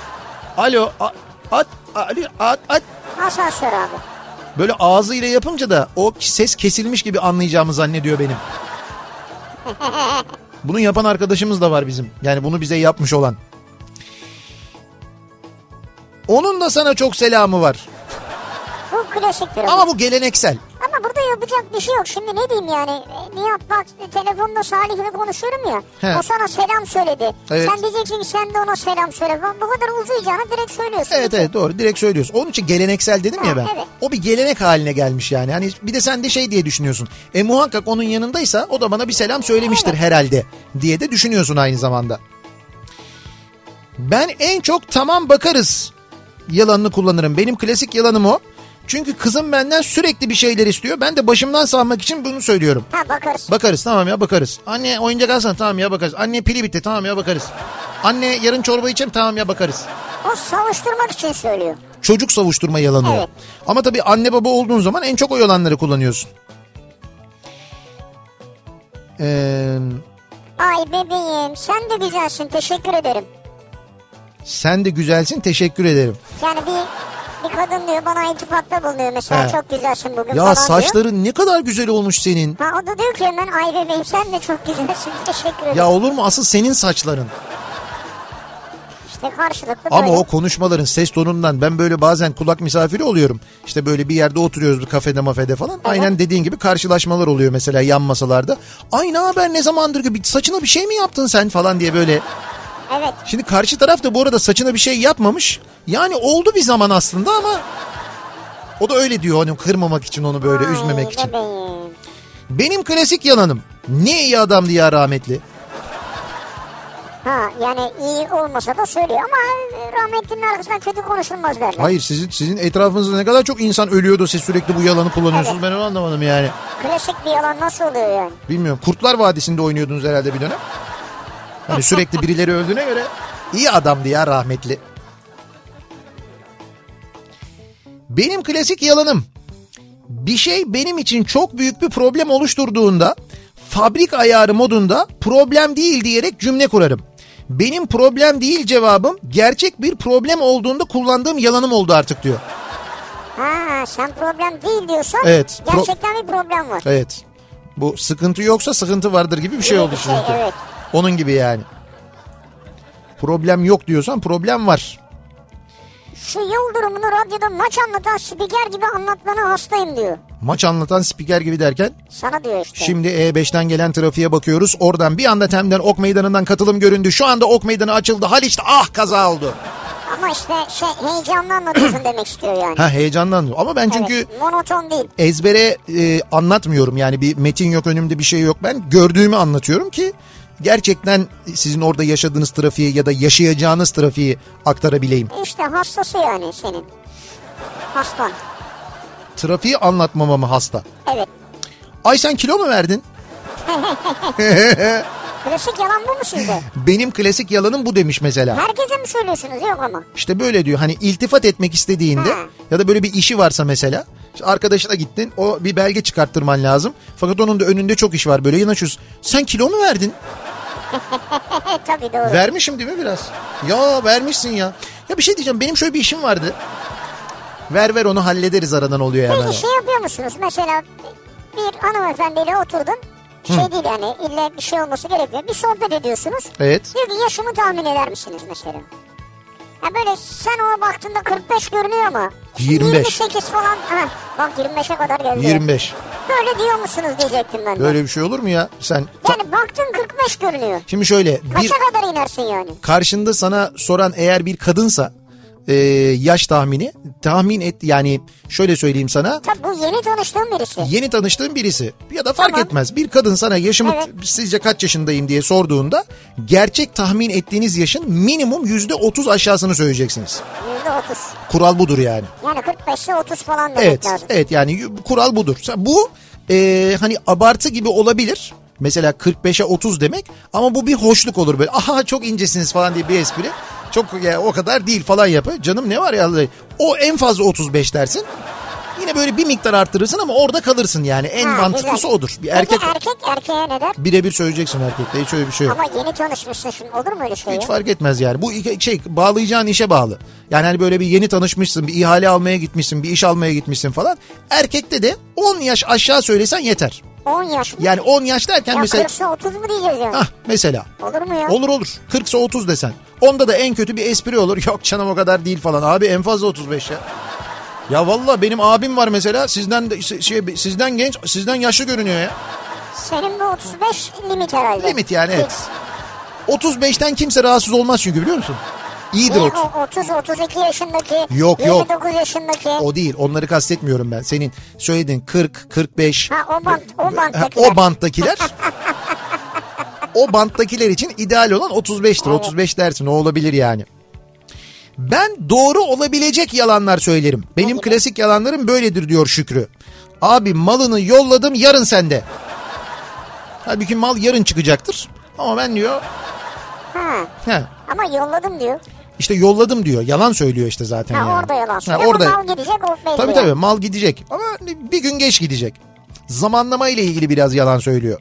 Speaker 2: Alo? A- at, alo, at, at.
Speaker 1: Asansör abi.
Speaker 2: Böyle ağzıyla yapınca da o ses kesilmiş gibi anlayacağımı zannediyor benim. Bunu yapan arkadaşımız da var bizim. Yani bunu bize yapmış olan. Onun da sana çok selamı var.
Speaker 1: Bu klasiktir. Ama,
Speaker 2: Ama bu geleneksel.
Speaker 1: Ama burada yapacak bir şey yok. Şimdi ne diyeyim yani. E, Nihat bak telefonda Salih'le konuşuyorum ya.
Speaker 2: He.
Speaker 1: O sana selam söyledi.
Speaker 2: Evet.
Speaker 1: Sen diyeceksin ki sen de ona selam söyle. falan. Bu kadar uzayacağını direkt söylüyorsun.
Speaker 2: Evet evet doğru direkt söylüyorsun. Onun için geleneksel dedim ya
Speaker 1: Ha,
Speaker 2: ben.
Speaker 1: evet.
Speaker 2: O bir gelenek haline gelmiş yani. Hani bir de sen de şey diye düşünüyorsun. E muhakkak onun yanındaysa o da bana bir selam söylemiştir herhalde diye de düşünüyorsun aynı zamanda. Ben en çok tamam bakarız yalanını kullanırım. Benim klasik yalanım o. Çünkü kızım benden sürekli bir şeyler istiyor. Ben de başımdan savmak için bunu söylüyorum.
Speaker 1: Ha bakarız.
Speaker 2: Bakarız tamam ya bakarız. Anne oyuncak alsana tamam ya bakarız. Anne pili bitti tamam ya bakarız. Anne yarın çorba içelim tamam ya bakarız.
Speaker 1: O savuşturmak için söylüyor.
Speaker 2: Çocuk savuşturma yalanı. o.
Speaker 1: Evet.
Speaker 2: Ama tabii anne baba olduğun zaman en çok o yalanları kullanıyorsun. Ee,
Speaker 1: Ay bebeğim sen de güzelsin teşekkür ederim.
Speaker 2: sen de güzelsin teşekkür ederim.
Speaker 1: Yani bir bir kadın diyor bana iltifatta bulunuyor mesela
Speaker 2: He.
Speaker 1: çok güzelsin
Speaker 2: Ya
Speaker 1: bugün falan diyor.
Speaker 2: saçların ne kadar güzel olmuş senin.
Speaker 1: Ha o da diyor ki hemen ay bebeğim sen de çok güzelsin teşekkür ederim.
Speaker 2: Ya olur mu asıl senin saçların.
Speaker 1: İşte karşılıklı
Speaker 2: Ama
Speaker 1: böyle.
Speaker 2: o konuşmaların ses tonundan ben böyle bazen kulak misafiri oluyorum. İşte böyle bir yerde oturuyoruz bir kafede mafede falan. Aynen dediğin gibi karşılaşmalar oluyor mesela yan masalarda. Ay ne haber ne zamandır gibi saçına bir şey mi yaptın sen falan diye böyle.
Speaker 1: Evet
Speaker 2: Şimdi karşı taraf da bu arada saçına bir şey yapmamış. Yani oldu bir zaman aslında ama o da öyle diyor hani kırmamak için onu böyle
Speaker 1: Ay
Speaker 2: üzmemek için.
Speaker 1: bebeğim.
Speaker 2: Benim klasik yalanım. Ne iyi adamdı ya rahmetli.
Speaker 1: Ha yani iyi olmasa da söylüyor ama rahmetlinin arkasından kötü konuşulmaz derler.
Speaker 2: Hayır sizin sizin etrafınızda ne kadar çok insan ölüyordu siz sürekli bu yalanı kullanıyorsunuz. Ben onu anlamadım yani.
Speaker 1: Klasik bir yalan nasıl oluyor yani?
Speaker 2: Bilmiyorum Kurtlar Vadisi'nde oynuyordunuz herhalde bir dönem. Hani sürekli birileri öldüğüne göre iyi adamdı ya rahmetli. Benim klasik yalanım. Bir şey benim için çok büyük bir problem oluşturduğunda fabrik ayarı modunda problem değil diyerek cümle kurarım. Benim problem değil cevabım gerçek bir problem olduğunda kullandığım yalanım oldu artık diyor.
Speaker 1: Ha sen problem değil diyorsan
Speaker 2: Evet, pro-
Speaker 1: gerçekten bir problem var.
Speaker 2: Evet. Bu sıkıntı yoksa sıkıntı vardır gibi bir şey
Speaker 1: Gibi
Speaker 2: oldu
Speaker 1: bir şey,
Speaker 2: şimdi.
Speaker 1: evet.
Speaker 2: Onun gibi yani. Problem yok diyorsan problem var.
Speaker 1: Şu yol durumunu radyoda maç anlatan spiker gibi anlatmana hastayım diyor.
Speaker 2: Maç anlatan spiker gibi derken
Speaker 1: Sana diyor işte.
Speaker 2: şimdi E5'ten gelen trafiğe bakıyoruz. Oradan bir anda Tem'den Ok Meydanı'ndan katılım göründü. Şu anda Ok Meydanı açıldı. Haliç'te ah kaza oldu.
Speaker 1: Ama işte şey heyecanlı anlatıyorsun demek istiyor yani.
Speaker 2: Ha heyecanlandım ama ben çünkü
Speaker 1: Evet, monoton değil.
Speaker 2: ezbere e, anlatmıyorum. Yani bir metin yok önümde bir şey yok. Ben gördüğümü anlatıyorum ki gerçekten sizin orada yaşadığınız trafiği ya da yaşayacağınız trafiği aktarabileyim.
Speaker 1: İşte hastası yani senin. Hastan.
Speaker 2: Trafiği anlatmamam mı hasta?
Speaker 1: Evet.
Speaker 2: Ay sen kilo mu verdin?
Speaker 1: Klasik yalan bu mu sizde?
Speaker 2: Benim klasik yalanım bu demiş mesela.
Speaker 1: Herkese mi söylüyorsunuz? Yok ama.
Speaker 2: İşte böyle diyor hani iltifat etmek istediğinde
Speaker 1: Ha.
Speaker 2: ya da böyle bir işi varsa mesela işte arkadaşına gittin o bir belge çıkarttırman lazım. Fakat onun da önünde çok iş var böyle yanaşıyorsun. Sen kilo mu verdin?
Speaker 1: E tabii doğru.
Speaker 2: Vermişim değil mi biraz? Ya vermişsin ya. Ya bir şey diyeceğim benim şöyle bir işim vardı. Ver ver onu hallederiz aradan oluyor hemen.
Speaker 1: Peki şey yapıyor musunuz? Mesela bir hanımefendiyle oturdun. Şey değil yani illa bir şey olması gerekmiyor. Bir sohbet ediyorsunuz.
Speaker 2: Evet.
Speaker 1: Diyor ki yaşımı tahmin eder misiniz mesela? Ya böyle sen ona baktığında 45 görünüyor ama. şimdi
Speaker 2: 25.
Speaker 1: 28 falan. Ha, bak 25'e kadar geldi.
Speaker 2: 25.
Speaker 1: Böyle diyor musunuz diyecektim ben de.
Speaker 2: Böyle bir şey olur mu ya? Sen
Speaker 1: Yani baktın 45 görünüyor.
Speaker 2: şimdi şöyle bir
Speaker 1: Kaça kadar inersin yani?
Speaker 2: karşında sana soran eğer bir kadınsa e, yaş tahmini tahmin et yani şöyle söyleyeyim sana
Speaker 1: Tabii bu yeni tanıştığım birisi.
Speaker 2: yeni tanıştığın birisi ya da fark
Speaker 1: Tamam.
Speaker 2: etmez bir kadın sana yaşımı
Speaker 1: Evet.
Speaker 2: sizce kaç yaşındayım diye sorduğunda gerçek tahmin ettiğiniz yaşın minimum yüzde otuz aşağısını söyleyeceksiniz.
Speaker 1: Yüzde otuz.
Speaker 2: Kural budur yani.
Speaker 1: Yani 45 ile 30 falan demek
Speaker 2: Evet,
Speaker 1: lazım.
Speaker 2: evet yani y- kural budur. Sen- Bu e, hani abartı gibi olabilir. Mesela 45'e 30 demek ama bu bir hoşluk olur böyle. Aha çok incesiniz falan diye bir espri. Çok ya, o kadar değil falan yapı. Canım ne var ya o en fazla 35 dersin. Yine böyle bir miktar arttırırsın ama orada kalırsın yani. En
Speaker 1: Ha,
Speaker 2: mantıklısı
Speaker 1: güzel.
Speaker 2: odur. Bir
Speaker 1: Peki er-
Speaker 2: erkek
Speaker 1: erkek erkeğe ne der?
Speaker 2: birebir söyleyeceksin erkekte. Hiç öyle bir şey yok.
Speaker 1: Ama yeni tanışmışsın şimdi olur mu öyle şey? ya?
Speaker 2: Hiç fark etmez yani. Bu iki- şey bağlayacağın işe bağlı. Yani hani böyle bir yeni tanışmışsın, bir ihale almaya gitmişsin, bir iş almaya gitmişsin falan. Erkekte de 10 yaş aşağı söylesen yeter.
Speaker 1: 10 yaş.
Speaker 2: Yani 10 yaş derken
Speaker 1: ya
Speaker 2: mesela
Speaker 1: 40'sa 30 mu diyeceğiz yani?
Speaker 2: Hah, mesela
Speaker 1: Olur mu ya?
Speaker 2: olur olur. 40'sa 30 desen. Onda da en kötü bir espri olur. Yok canım o kadar değil falan. Abi en fazla 35 ya. Ya valla benim abim var mesela sizden de, şey, sizden genç sizden yaşlı görünüyor ya.
Speaker 1: Senin bu 35 limit herhalde.
Speaker 2: Limit yani, evet.
Speaker 1: Fix.
Speaker 2: 35'ten kimse rahatsız olmaz çünkü biliyor musun? İyidir
Speaker 1: Niye
Speaker 2: 30.
Speaker 1: o 30 32 yaşındaki
Speaker 2: Yok, yok.
Speaker 1: 29 yaşındaki
Speaker 2: O değil onları kastetmiyorum ben. Senin söylediğin 40, 45.
Speaker 1: ha o band o
Speaker 2: Ha,
Speaker 1: banttakiler.
Speaker 2: o banttakiler. o banttakiler için ideal olan 35'tir. 35 dersin o olabilir yani. Ben doğru olabilecek yalanlar söylerim. Benim klasik yalanlarım böyledir diyor Şükrü. Abi malını yolladım yarın sende. Halbuki mal yarın çıkacaktır. Ama ben diyor
Speaker 1: Ha.
Speaker 2: he,
Speaker 1: Ama yolladım diyor.
Speaker 2: işte yolladım diyor. Yalan söylüyor işte zaten.
Speaker 1: Ha,
Speaker 2: yani.
Speaker 1: orada yalan
Speaker 2: Ha,
Speaker 1: söylüyor.
Speaker 2: orada.
Speaker 1: Ama mal gidecek o belli.
Speaker 2: Tabii
Speaker 1: yani.
Speaker 2: tabii mal gidecek ama bir gün geç gidecek. Zamanlama ile ilgili biraz yalan söylüyor.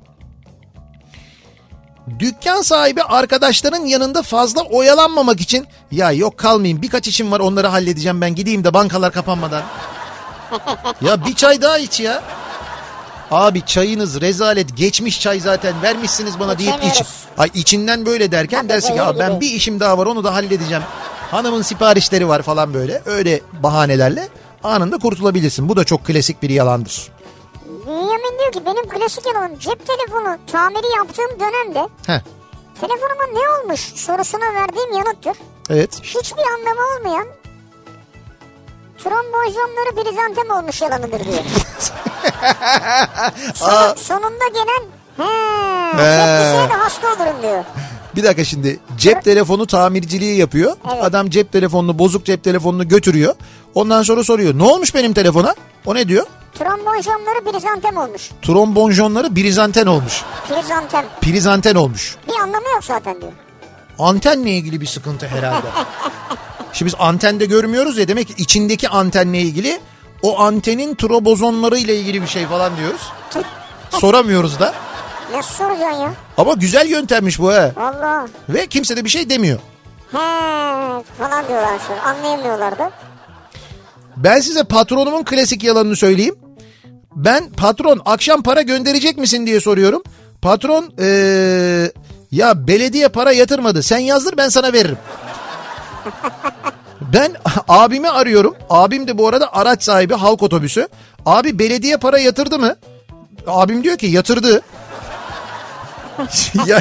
Speaker 2: Dükkan sahibi arkadaşların yanında fazla oyalanmamak için ya yok kalmayayım birkaç işim var onları halledeceğim ben gideyim de bankalar kapanmadan. ya bir çay daha iç ya. Abi çayınız rezalet geçmiş çay zaten vermişsiniz bana deyip iç.
Speaker 1: İçemiyoruz.
Speaker 2: Ay içinden böyle derken
Speaker 1: Tabii,
Speaker 2: dersin ki,
Speaker 1: zehir
Speaker 2: ya ben
Speaker 1: gibi.
Speaker 2: bir işim daha var onu da halledeceğim. Hanımın siparişleri var falan böyle. Öyle bahanelerle anında kurtulabilirsin. Bu da çok klasik bir yalandır.
Speaker 1: Bünyamin diyor ki benim klasik yalanım cep telefonu tamiri yaptığım dönemde
Speaker 2: Heh.
Speaker 1: telefonuma ne olmuş sorusuna verdiğim yanıttır.
Speaker 2: Evet.
Speaker 1: Hiçbir anlamı olmayan trombozyonları brizantem olmuş yalanıdır diyor. Son- sonunda gelen he, tepkisiye de hasta olurum diyor.
Speaker 2: Bir dakika şimdi cep telefonu tamirciliği yapıyor.
Speaker 1: Evet.
Speaker 2: Adam cep telefonunu bozuk cep telefonunu götürüyor. Ondan sonra soruyor ne olmuş benim telefona? O ne diyor?
Speaker 1: Trombozyonları brizantem olmuş.
Speaker 2: Trombonjonları birizanten olmuş.
Speaker 1: Brizantem.
Speaker 2: Prizanten olmuş.
Speaker 1: Bir anlamı yok zaten diyor.
Speaker 2: Antenle ilgili bir sıkıntı herhalde. Şimdi biz antende görmüyoruz ya demek ki içindeki antenle ilgili o antenin trobozonları ile ilgili bir şey falan diyoruz.
Speaker 1: Tüh,
Speaker 2: Soramıyoruz da.
Speaker 1: Nasıl soracaksın ya?
Speaker 2: Ama güzel yöntemmiş bu he.
Speaker 1: Valla.
Speaker 2: Ve kimse de bir şey demiyor.
Speaker 1: He falan diyorlar sonra. Anlayamıyorlar da.
Speaker 2: Ben size patronumun klasik yalanını söyleyeyim. Ben patron akşam para gönderecek misin diye soruyorum. Patron eee, ya belediye para yatırmadı sen yazdır ben sana veririm. Ben abimi arıyorum. Abim de bu arada araç sahibi halk otobüsü. Abi belediye para yatırdı mı? Abim diyor ki yatırdı. ya,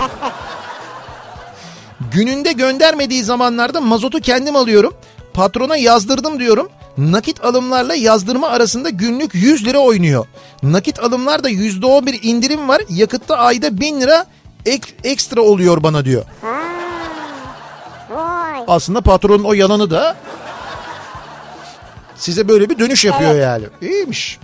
Speaker 2: gününde göndermediği zamanlarda mazotu kendim alıyorum. Patrona yazdırdım diyorum. Nakit alımlarla yazdırma arasında günlük 100 lira oynuyor. Nakit alımlarda %11 indirim var. Yakıtta ayda 1000 lira ek- ekstra oluyor bana diyor.
Speaker 1: Ha. Vay.
Speaker 2: Aslında patronun o yalanı da size böyle bir dönüş yapıyor
Speaker 1: Evet.
Speaker 2: yani. İyiymiş.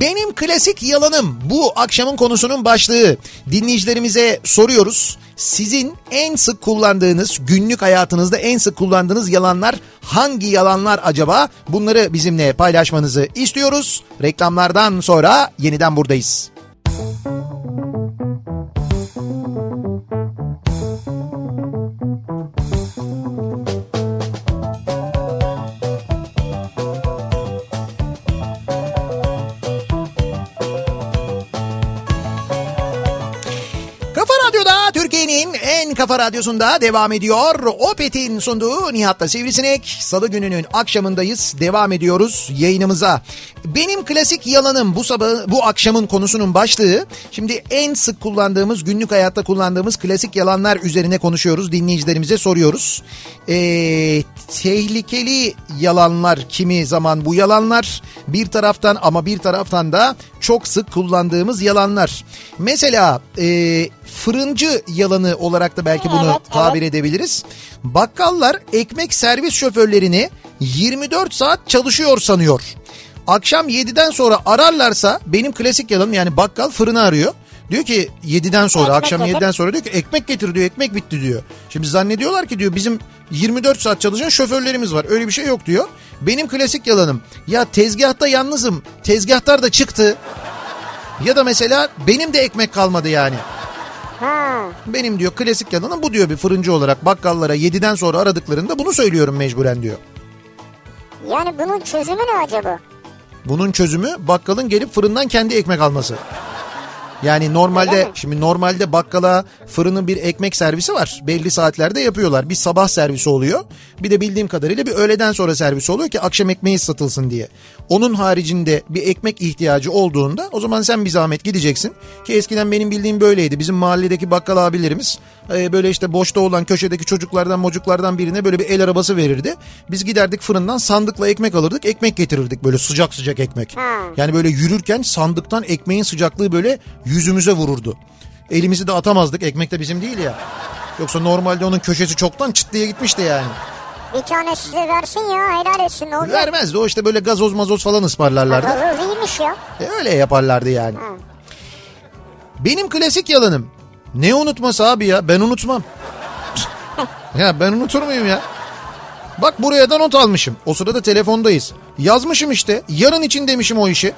Speaker 2: Benim klasik yalanım bu akşamın konusunun başlığı. Dinleyicilerimize soruyoruz. Sizin en sık kullandığınız, günlük hayatınızda en sık kullandığınız yalanlar hangi yalanlar acaba? Bunları bizimle paylaşmanızı istiyoruz. Reklamlardan sonra yeniden buradayız. Kafa Radyo Radyo'da Türkiye'nin en kafa radyosunda devam ediyor. Opet'in sunduğu Nihat'la Sivrisinek. Salı gününün akşamındayız. Devam ediyoruz yayınımıza. Benim klasik yalanım bu sabah bu akşamın konusunun başlığı. Şimdi en sık kullandığımız günlük hayatta kullandığımız klasik yalanlar üzerine konuşuyoruz. Dinleyicilerimize soruyoruz. Ee, tehlikeli yalanlar kimi zaman bu yalanlar bir taraftan ama bir taraftan da çok sık kullandığımız yalanlar. Mesela e, fırıncı yalanı olarak da belki bunu
Speaker 1: Evet,
Speaker 2: tabir edebiliriz. Bakkallar ekmek servis şoförlerini 24 saat çalışıyor sanıyor. Akşam 7'den sonra ararlarsa benim klasik yalanım yani bakkal fırını arıyor. Diyor ki 7'den sonra
Speaker 1: Ekmek
Speaker 2: akşam
Speaker 1: getir.
Speaker 2: 7'den sonra diyor ki ekmek getir diyor ekmek bitti diyor. Şimdi zannediyorlar ki diyor bizim 24 saat çalışan şoförlerimiz var öyle bir şey yok diyor. Benim klasik yalanım ya tezgahta yalnızım tezgahtar da çıktı. Ya da mesela benim de ekmek kalmadı yani.
Speaker 1: Ha.
Speaker 2: Benim diyor klasik yalanım bu diyor bir fırıncı olarak bakkallara 7'den sonra aradıklarında bunu söylüyorum mecburen diyor.
Speaker 1: Yani bunun çözümü ne acaba?
Speaker 2: Bunun çözümü bakkalın gelip fırından kendi ekmek alması. Yani normalde
Speaker 1: mi?
Speaker 2: şimdi normalde bakkala fırının bir ekmek servisi var. Belli saatlerde yapıyorlar. Bir sabah servisi oluyor. Bir de bildiğim kadarıyla bir öğleden sonra servisi oluyor ki akşam ekmeği satılsın diye. Onun haricinde bir ekmek ihtiyacı olduğunda o zaman sen bir zahmet gideceksin. Ki eskiden benim bildiğim böyleydi. Bizim mahalledeki bakkal abilerimiz e, böyle işte boşta olan köşedeki çocuklardan mocuklardan birine böyle bir el arabası verirdi. Biz giderdik fırından sandıkla ekmek alırdık. Ekmek getirirdik böyle sıcak sıcak ekmek.
Speaker 1: Ha.
Speaker 2: Yani böyle yürürken sandıktan ekmeğin sıcaklığı böyle yüzümüze vururdu. Elimizi de atamazdık ekmek de bizim değil ya. Yoksa normalde onun köşesi çoktan çıt diye gitmişti yani.
Speaker 1: Bir tane size versin ya helal etsin ne olacak?
Speaker 2: Vermezdi o işte böyle gazoz mazoz falan ısmarlarlardı.
Speaker 1: Gazoz iyiymiş ya.
Speaker 2: E, öyle yaparlardı yani. Benim klasik yalanım. Ne unutması abi ya ben unutmam. ya ben unutur muyum ya? Bak buraya da not almışım. O sırada telefondayız. Yazmışım işte. Yarın için demişim o işi.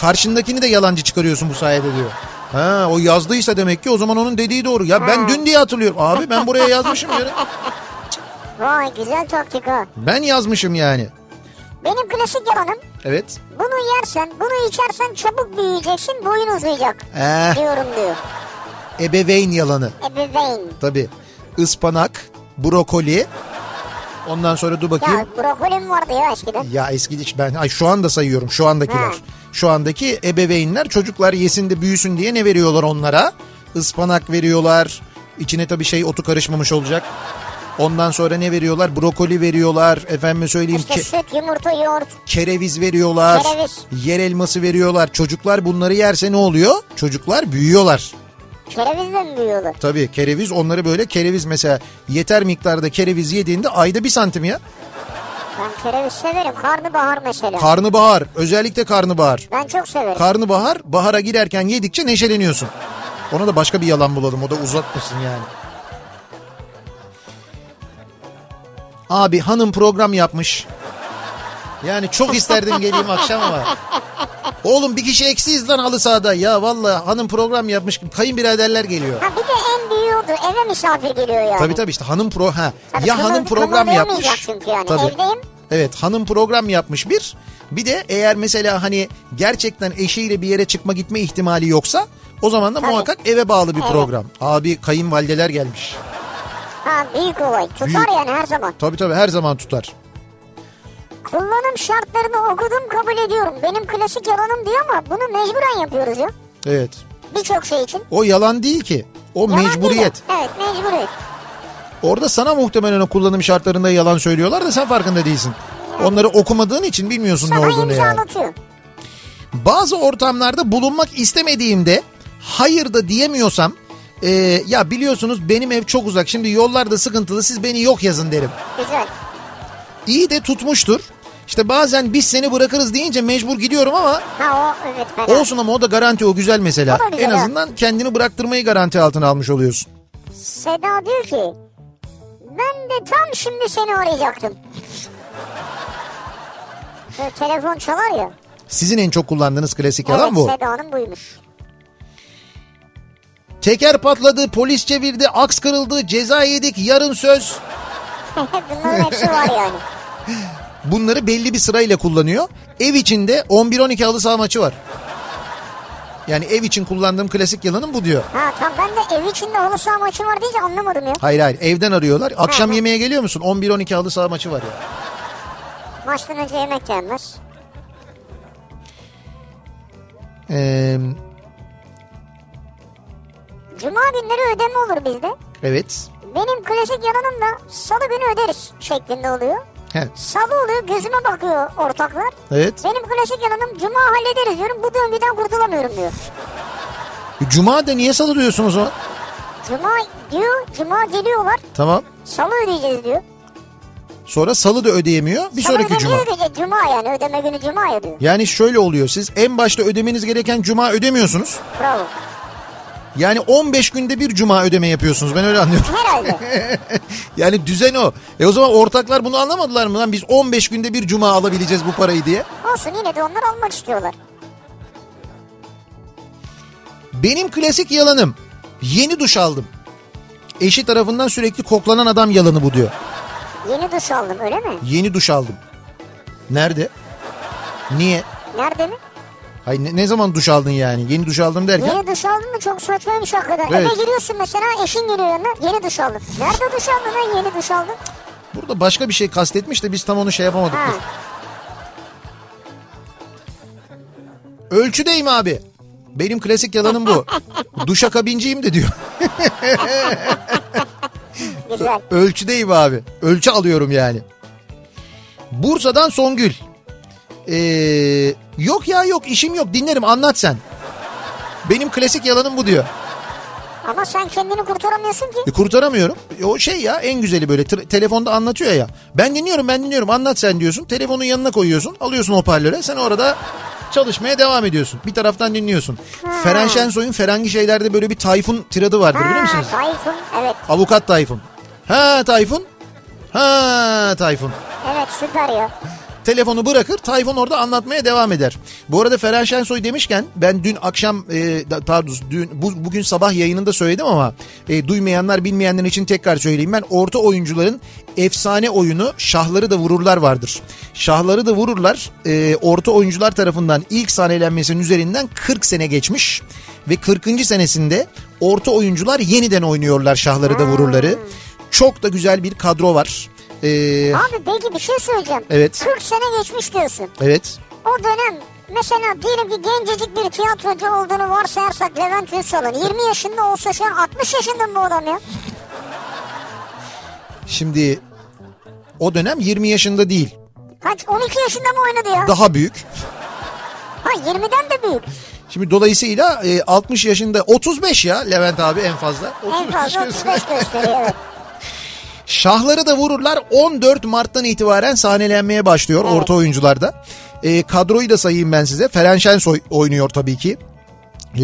Speaker 2: Karşındakini de yalancı çıkarıyorsun bu sayede diyor. Ha o yazdıysa demek ki o zaman onun dediği doğru. Ya ben dün diye hatırlıyorum. Abi ben buraya yazmışım yarın.
Speaker 1: Vay güzel taktik ha.
Speaker 2: Ben yazmışım yani.
Speaker 1: Benim klasik yalanım
Speaker 2: Evet.
Speaker 1: bunu yersen bunu içersen çabuk büyüyeceksin boyun uzayacak
Speaker 2: Eh,
Speaker 1: diyorum diyor.
Speaker 2: ebeveyn yalanı.
Speaker 1: Ebeveyn.
Speaker 2: Tabii. Ispanak, brokoli. Ondan sonra dur bakayım.
Speaker 1: Ya brokolim vardı ya eskiden.
Speaker 2: Ya eski hiç ben ay şu anda sayıyorum şu andakiler.
Speaker 1: Ha.
Speaker 2: Şu andaki ebeveynler çocuklar yesin de büyüsün diye ne veriyorlar onlara? Ispanak veriyorlar. İçine tabii şey otu karışmamış olacak. Ondan sonra ne veriyorlar? Brokoli veriyorlar. Efendim söyleyeyim
Speaker 1: İşte
Speaker 2: ke-
Speaker 1: süt, yumurta, yoğurt.
Speaker 2: kereviz veriyorlar.
Speaker 1: Kereviz.
Speaker 2: Yer elması veriyorlar. Çocuklar bunları yerse ne oluyor? Çocuklar büyüyorlar.
Speaker 1: Kerevizle mi büyüyorlar?
Speaker 2: Tabii kereviz onları böyle kereviz mesela yeter miktarda kereviz yediğinde ayda bir santim ya.
Speaker 1: Ben kereviz severim. Karnabahar mesela.
Speaker 2: Karnıbahar özellikle karnıbahar.
Speaker 1: ben çok severim.
Speaker 2: Karnıbahar bahara girerken yedikçe neşeleniyorsun. Ona da başka bir yalan bulalım o da uzatmasın yani. Abi hanım program yapmış. Yani çok isterdim geleyim akşam ama. Oğlum bir kişi eksiyiz lan halı sahada. Ya valla hanım program yapmış. Kayınbiraderler geliyor.
Speaker 1: ha bir de en büyüğü oldu. Eve misafir geliyor yani.
Speaker 2: Tabii tabii işte hanım pro ha.
Speaker 1: Tabii
Speaker 2: ya
Speaker 1: kımıl-
Speaker 2: hanım program
Speaker 1: kımıldayamayacak
Speaker 2: yapmış.
Speaker 1: çünkü yani. Evdeyim.
Speaker 2: Evet hanım program yapmış bir. Bir de eğer mesela hani gerçekten eşiyle bir yere çıkma gitme ihtimali yoksa o zaman da
Speaker 1: Tabii.
Speaker 2: muhakkak eve bağlı bir
Speaker 1: Evet.
Speaker 2: program. Abi kayınvalideler gelmiş.
Speaker 1: Ha büyük olay. Tutar
Speaker 2: Büyük.
Speaker 1: yani her zaman.
Speaker 2: Tabii tabii her zaman tutar.
Speaker 1: Kullanım şartlarını okudum kabul ediyorum. Benim klasik yalanım diyor ama bunu mecburen yapıyoruz ya.
Speaker 2: Evet.
Speaker 1: Birçok şey için.
Speaker 2: O yalan değil ki. O
Speaker 1: Yalan değil de.
Speaker 2: mecburiyet.
Speaker 1: Evet mecburiyet.
Speaker 2: Orada sana muhtemelen o kullanım şartlarında yalan söylüyorlar da sen farkında değilsin. Onları okumadığın için bilmiyorsun ne
Speaker 1: Sana
Speaker 2: olduğunu
Speaker 1: imza
Speaker 2: yani.
Speaker 1: atıyor.
Speaker 2: Bazı ortamlarda bulunmak istemediğimde hayır da diyemiyorsam e, ya biliyorsunuz benim ev çok uzak şimdi yollar da sıkıntılı siz beni yok yazın derim.
Speaker 1: Güzel.
Speaker 2: İyi de tutmuştur. İşte bazen biz seni bırakırız deyince mecbur gidiyorum ama
Speaker 1: Ha o evet fena.
Speaker 2: olsun ama o da garanti o güzel mesela.
Speaker 1: O da güzel,
Speaker 2: en
Speaker 1: evet.
Speaker 2: azından kendini bıraktırmayı garanti altına almış oluyorsun.
Speaker 1: Seda diyor ki ben de tam şimdi seni arayacaktım. Böyle telefon çalar ya.
Speaker 2: Sizin en çok kullandığınız klasik yalan
Speaker 1: evet
Speaker 2: bu.
Speaker 1: Seda'nın buymuş.
Speaker 2: Teker patladı, polis çevirdi, aks kırıldı, ceza yedik, yarın söz.
Speaker 1: Bunların hepsi var yani.
Speaker 2: Bunları belli bir sırayla kullanıyor. Ev içinde 11-12 halı saha maçı var. Yani ev için kullandığım klasik yalanım bu diyor.
Speaker 1: Ha tam ben de ev içinde halı saha maçı var deyince anlamadım ya.
Speaker 2: Hayır hayır evden arıyorlar. Akşam
Speaker 1: Hı hı.
Speaker 2: yemeğe geliyor musun? 11-12 halı saha maçı var ya.
Speaker 1: Maçtan önce yemek yenmez.
Speaker 2: Ee,
Speaker 1: Cuma günleri ödeme olur bizde.
Speaker 2: evet.
Speaker 1: Benim klasik yalanım da salı günü öderiz şeklinde oluyor.
Speaker 2: He,
Speaker 1: Salı oluyor gözüme bakıyor ortaklar.
Speaker 2: evet.
Speaker 1: Benim klasik yalanım cuma hallederiz diyorum bu döngüden kurtulamıyorum diyor.
Speaker 2: Cuma da niye salı diyorsunuz o?
Speaker 1: Cuma diyor cuma geliyorlar
Speaker 2: Tamam.
Speaker 1: salı ödeyeceğiz diyor.
Speaker 2: Sonra salı da ödeyemiyor. Bir
Speaker 1: Salı
Speaker 2: sonraki cuma.
Speaker 1: ödemiyor ki, e, cuma yani ödeme günü cuma ya diyor.
Speaker 2: Yani şöyle oluyor siz en başta ödemeniz gereken cuma ödemiyorsunuz.
Speaker 1: Bravo.
Speaker 2: Yani 15 günde bir cuma ödeme yapıyorsunuz ben öyle anlıyorum.
Speaker 1: Herhalde.
Speaker 2: yani düzen o. E o zaman ortaklar bunu anlamadılar mı lan biz 15 günde bir cuma alabileceğiz bu parayı diye.
Speaker 1: Olsun yine de onlar almak istiyorlar.
Speaker 2: Benim klasik yalanım yeni duş aldım. Eşi tarafından sürekli koklanan adam yalanı bu diyor.
Speaker 1: Yeni duş aldım öyle mi?
Speaker 2: Yeni duş aldım. Nerede? Niye?
Speaker 1: Nerede mi?
Speaker 2: Hayır ne, ne zaman duş aldın yani? Yeni duş aldım derken.
Speaker 1: Yeni duş aldın mı çok saçmaymış hakikaten.
Speaker 2: Evet.
Speaker 1: Eve giriyorsun mesela eşin geliyor yanına yeni duş aldım. Nerede duş aldın lan yeni duş aldın?
Speaker 2: Burada başka bir şey kastetmiş de biz tam onu şey yapamadık.
Speaker 1: Ha.
Speaker 2: Ölçüdeyim abi. Benim klasik yalanım bu. Duşakabinciyim de diyor.
Speaker 1: Güzel.
Speaker 2: Ölçüdeyim abi. Ölçü alıyorum yani. Bursa'dan Songül. Ee, yok ya yok işim yok dinlerim anlat sen. Benim klasik yalanım bu diyor.
Speaker 1: Ama sen kendini kurtaramıyorsun ki.
Speaker 2: E, kurtaramıyorum. E, o şey ya en güzeli böyle Tr- telefonda anlatıyor ya. Ben dinliyorum ben dinliyorum anlat sen diyorsun. Telefonun yanına koyuyorsun alıyorsun hoparlöre sen orada çalışmaya devam ediyorsun. Bir taraftan dinliyorsun. Feren Şensoy'un Ferengi Şeyler'de böyle bir Tayfun tiradı vardır biliyor musunuz?
Speaker 1: Tayfun evet.
Speaker 2: Avukat Tayfun. Ha Tayfun. Ha Tayfun.
Speaker 1: Evet süper ya.
Speaker 2: Telefonu bırakır Tayfun orada anlatmaya devam eder. Bu arada Ferhan Şensoy demişken ben dün akşam e, da- pardon dün bu, bugün sabah yayınında söyledim ama e, duymayanlar bilmeyenler için tekrar söyleyeyim ben orta oyuncuların efsane oyunu Şahları da Vururlar vardır. Şahları da Vururlar e, orta oyuncular tarafından ilk sahnelenmesinin üzerinden 40 sene geçmiş ve 40. senesinde orta oyuncular yeniden oynuyorlar Şahları da Vururları. Çok da güzel bir kadro var. E,
Speaker 1: Abi peki bir şey söyleyeceğim.
Speaker 2: Evet.
Speaker 1: 40 sene geçmiş diyorsun.
Speaker 2: evet.
Speaker 1: O dönem mesela diyelim ki gencecik bir tiyatrocu olduğunu varsayarsak Levent Ünsal'ın 20 yaşında olsa şu an 60 yaşında mı bu adam ya?
Speaker 2: Şimdi o dönem 20 yaşında değil.
Speaker 1: Kaç 12 yaşında mı oynadı ya?
Speaker 2: Daha büyük.
Speaker 1: Ha 20'den de büyük.
Speaker 2: Şimdi dolayısıyla e, 60 yaşında 35 ya Levent abi en fazla.
Speaker 1: En fazla 35 gösteriyor evet.
Speaker 2: Şahları da vururlar 14 Mart'tan itibaren sahnelenmeye başlıyor orta oyuncularda. E, kadroyu da sayayım ben size. Feren Şensoy oynuyor tabii ki.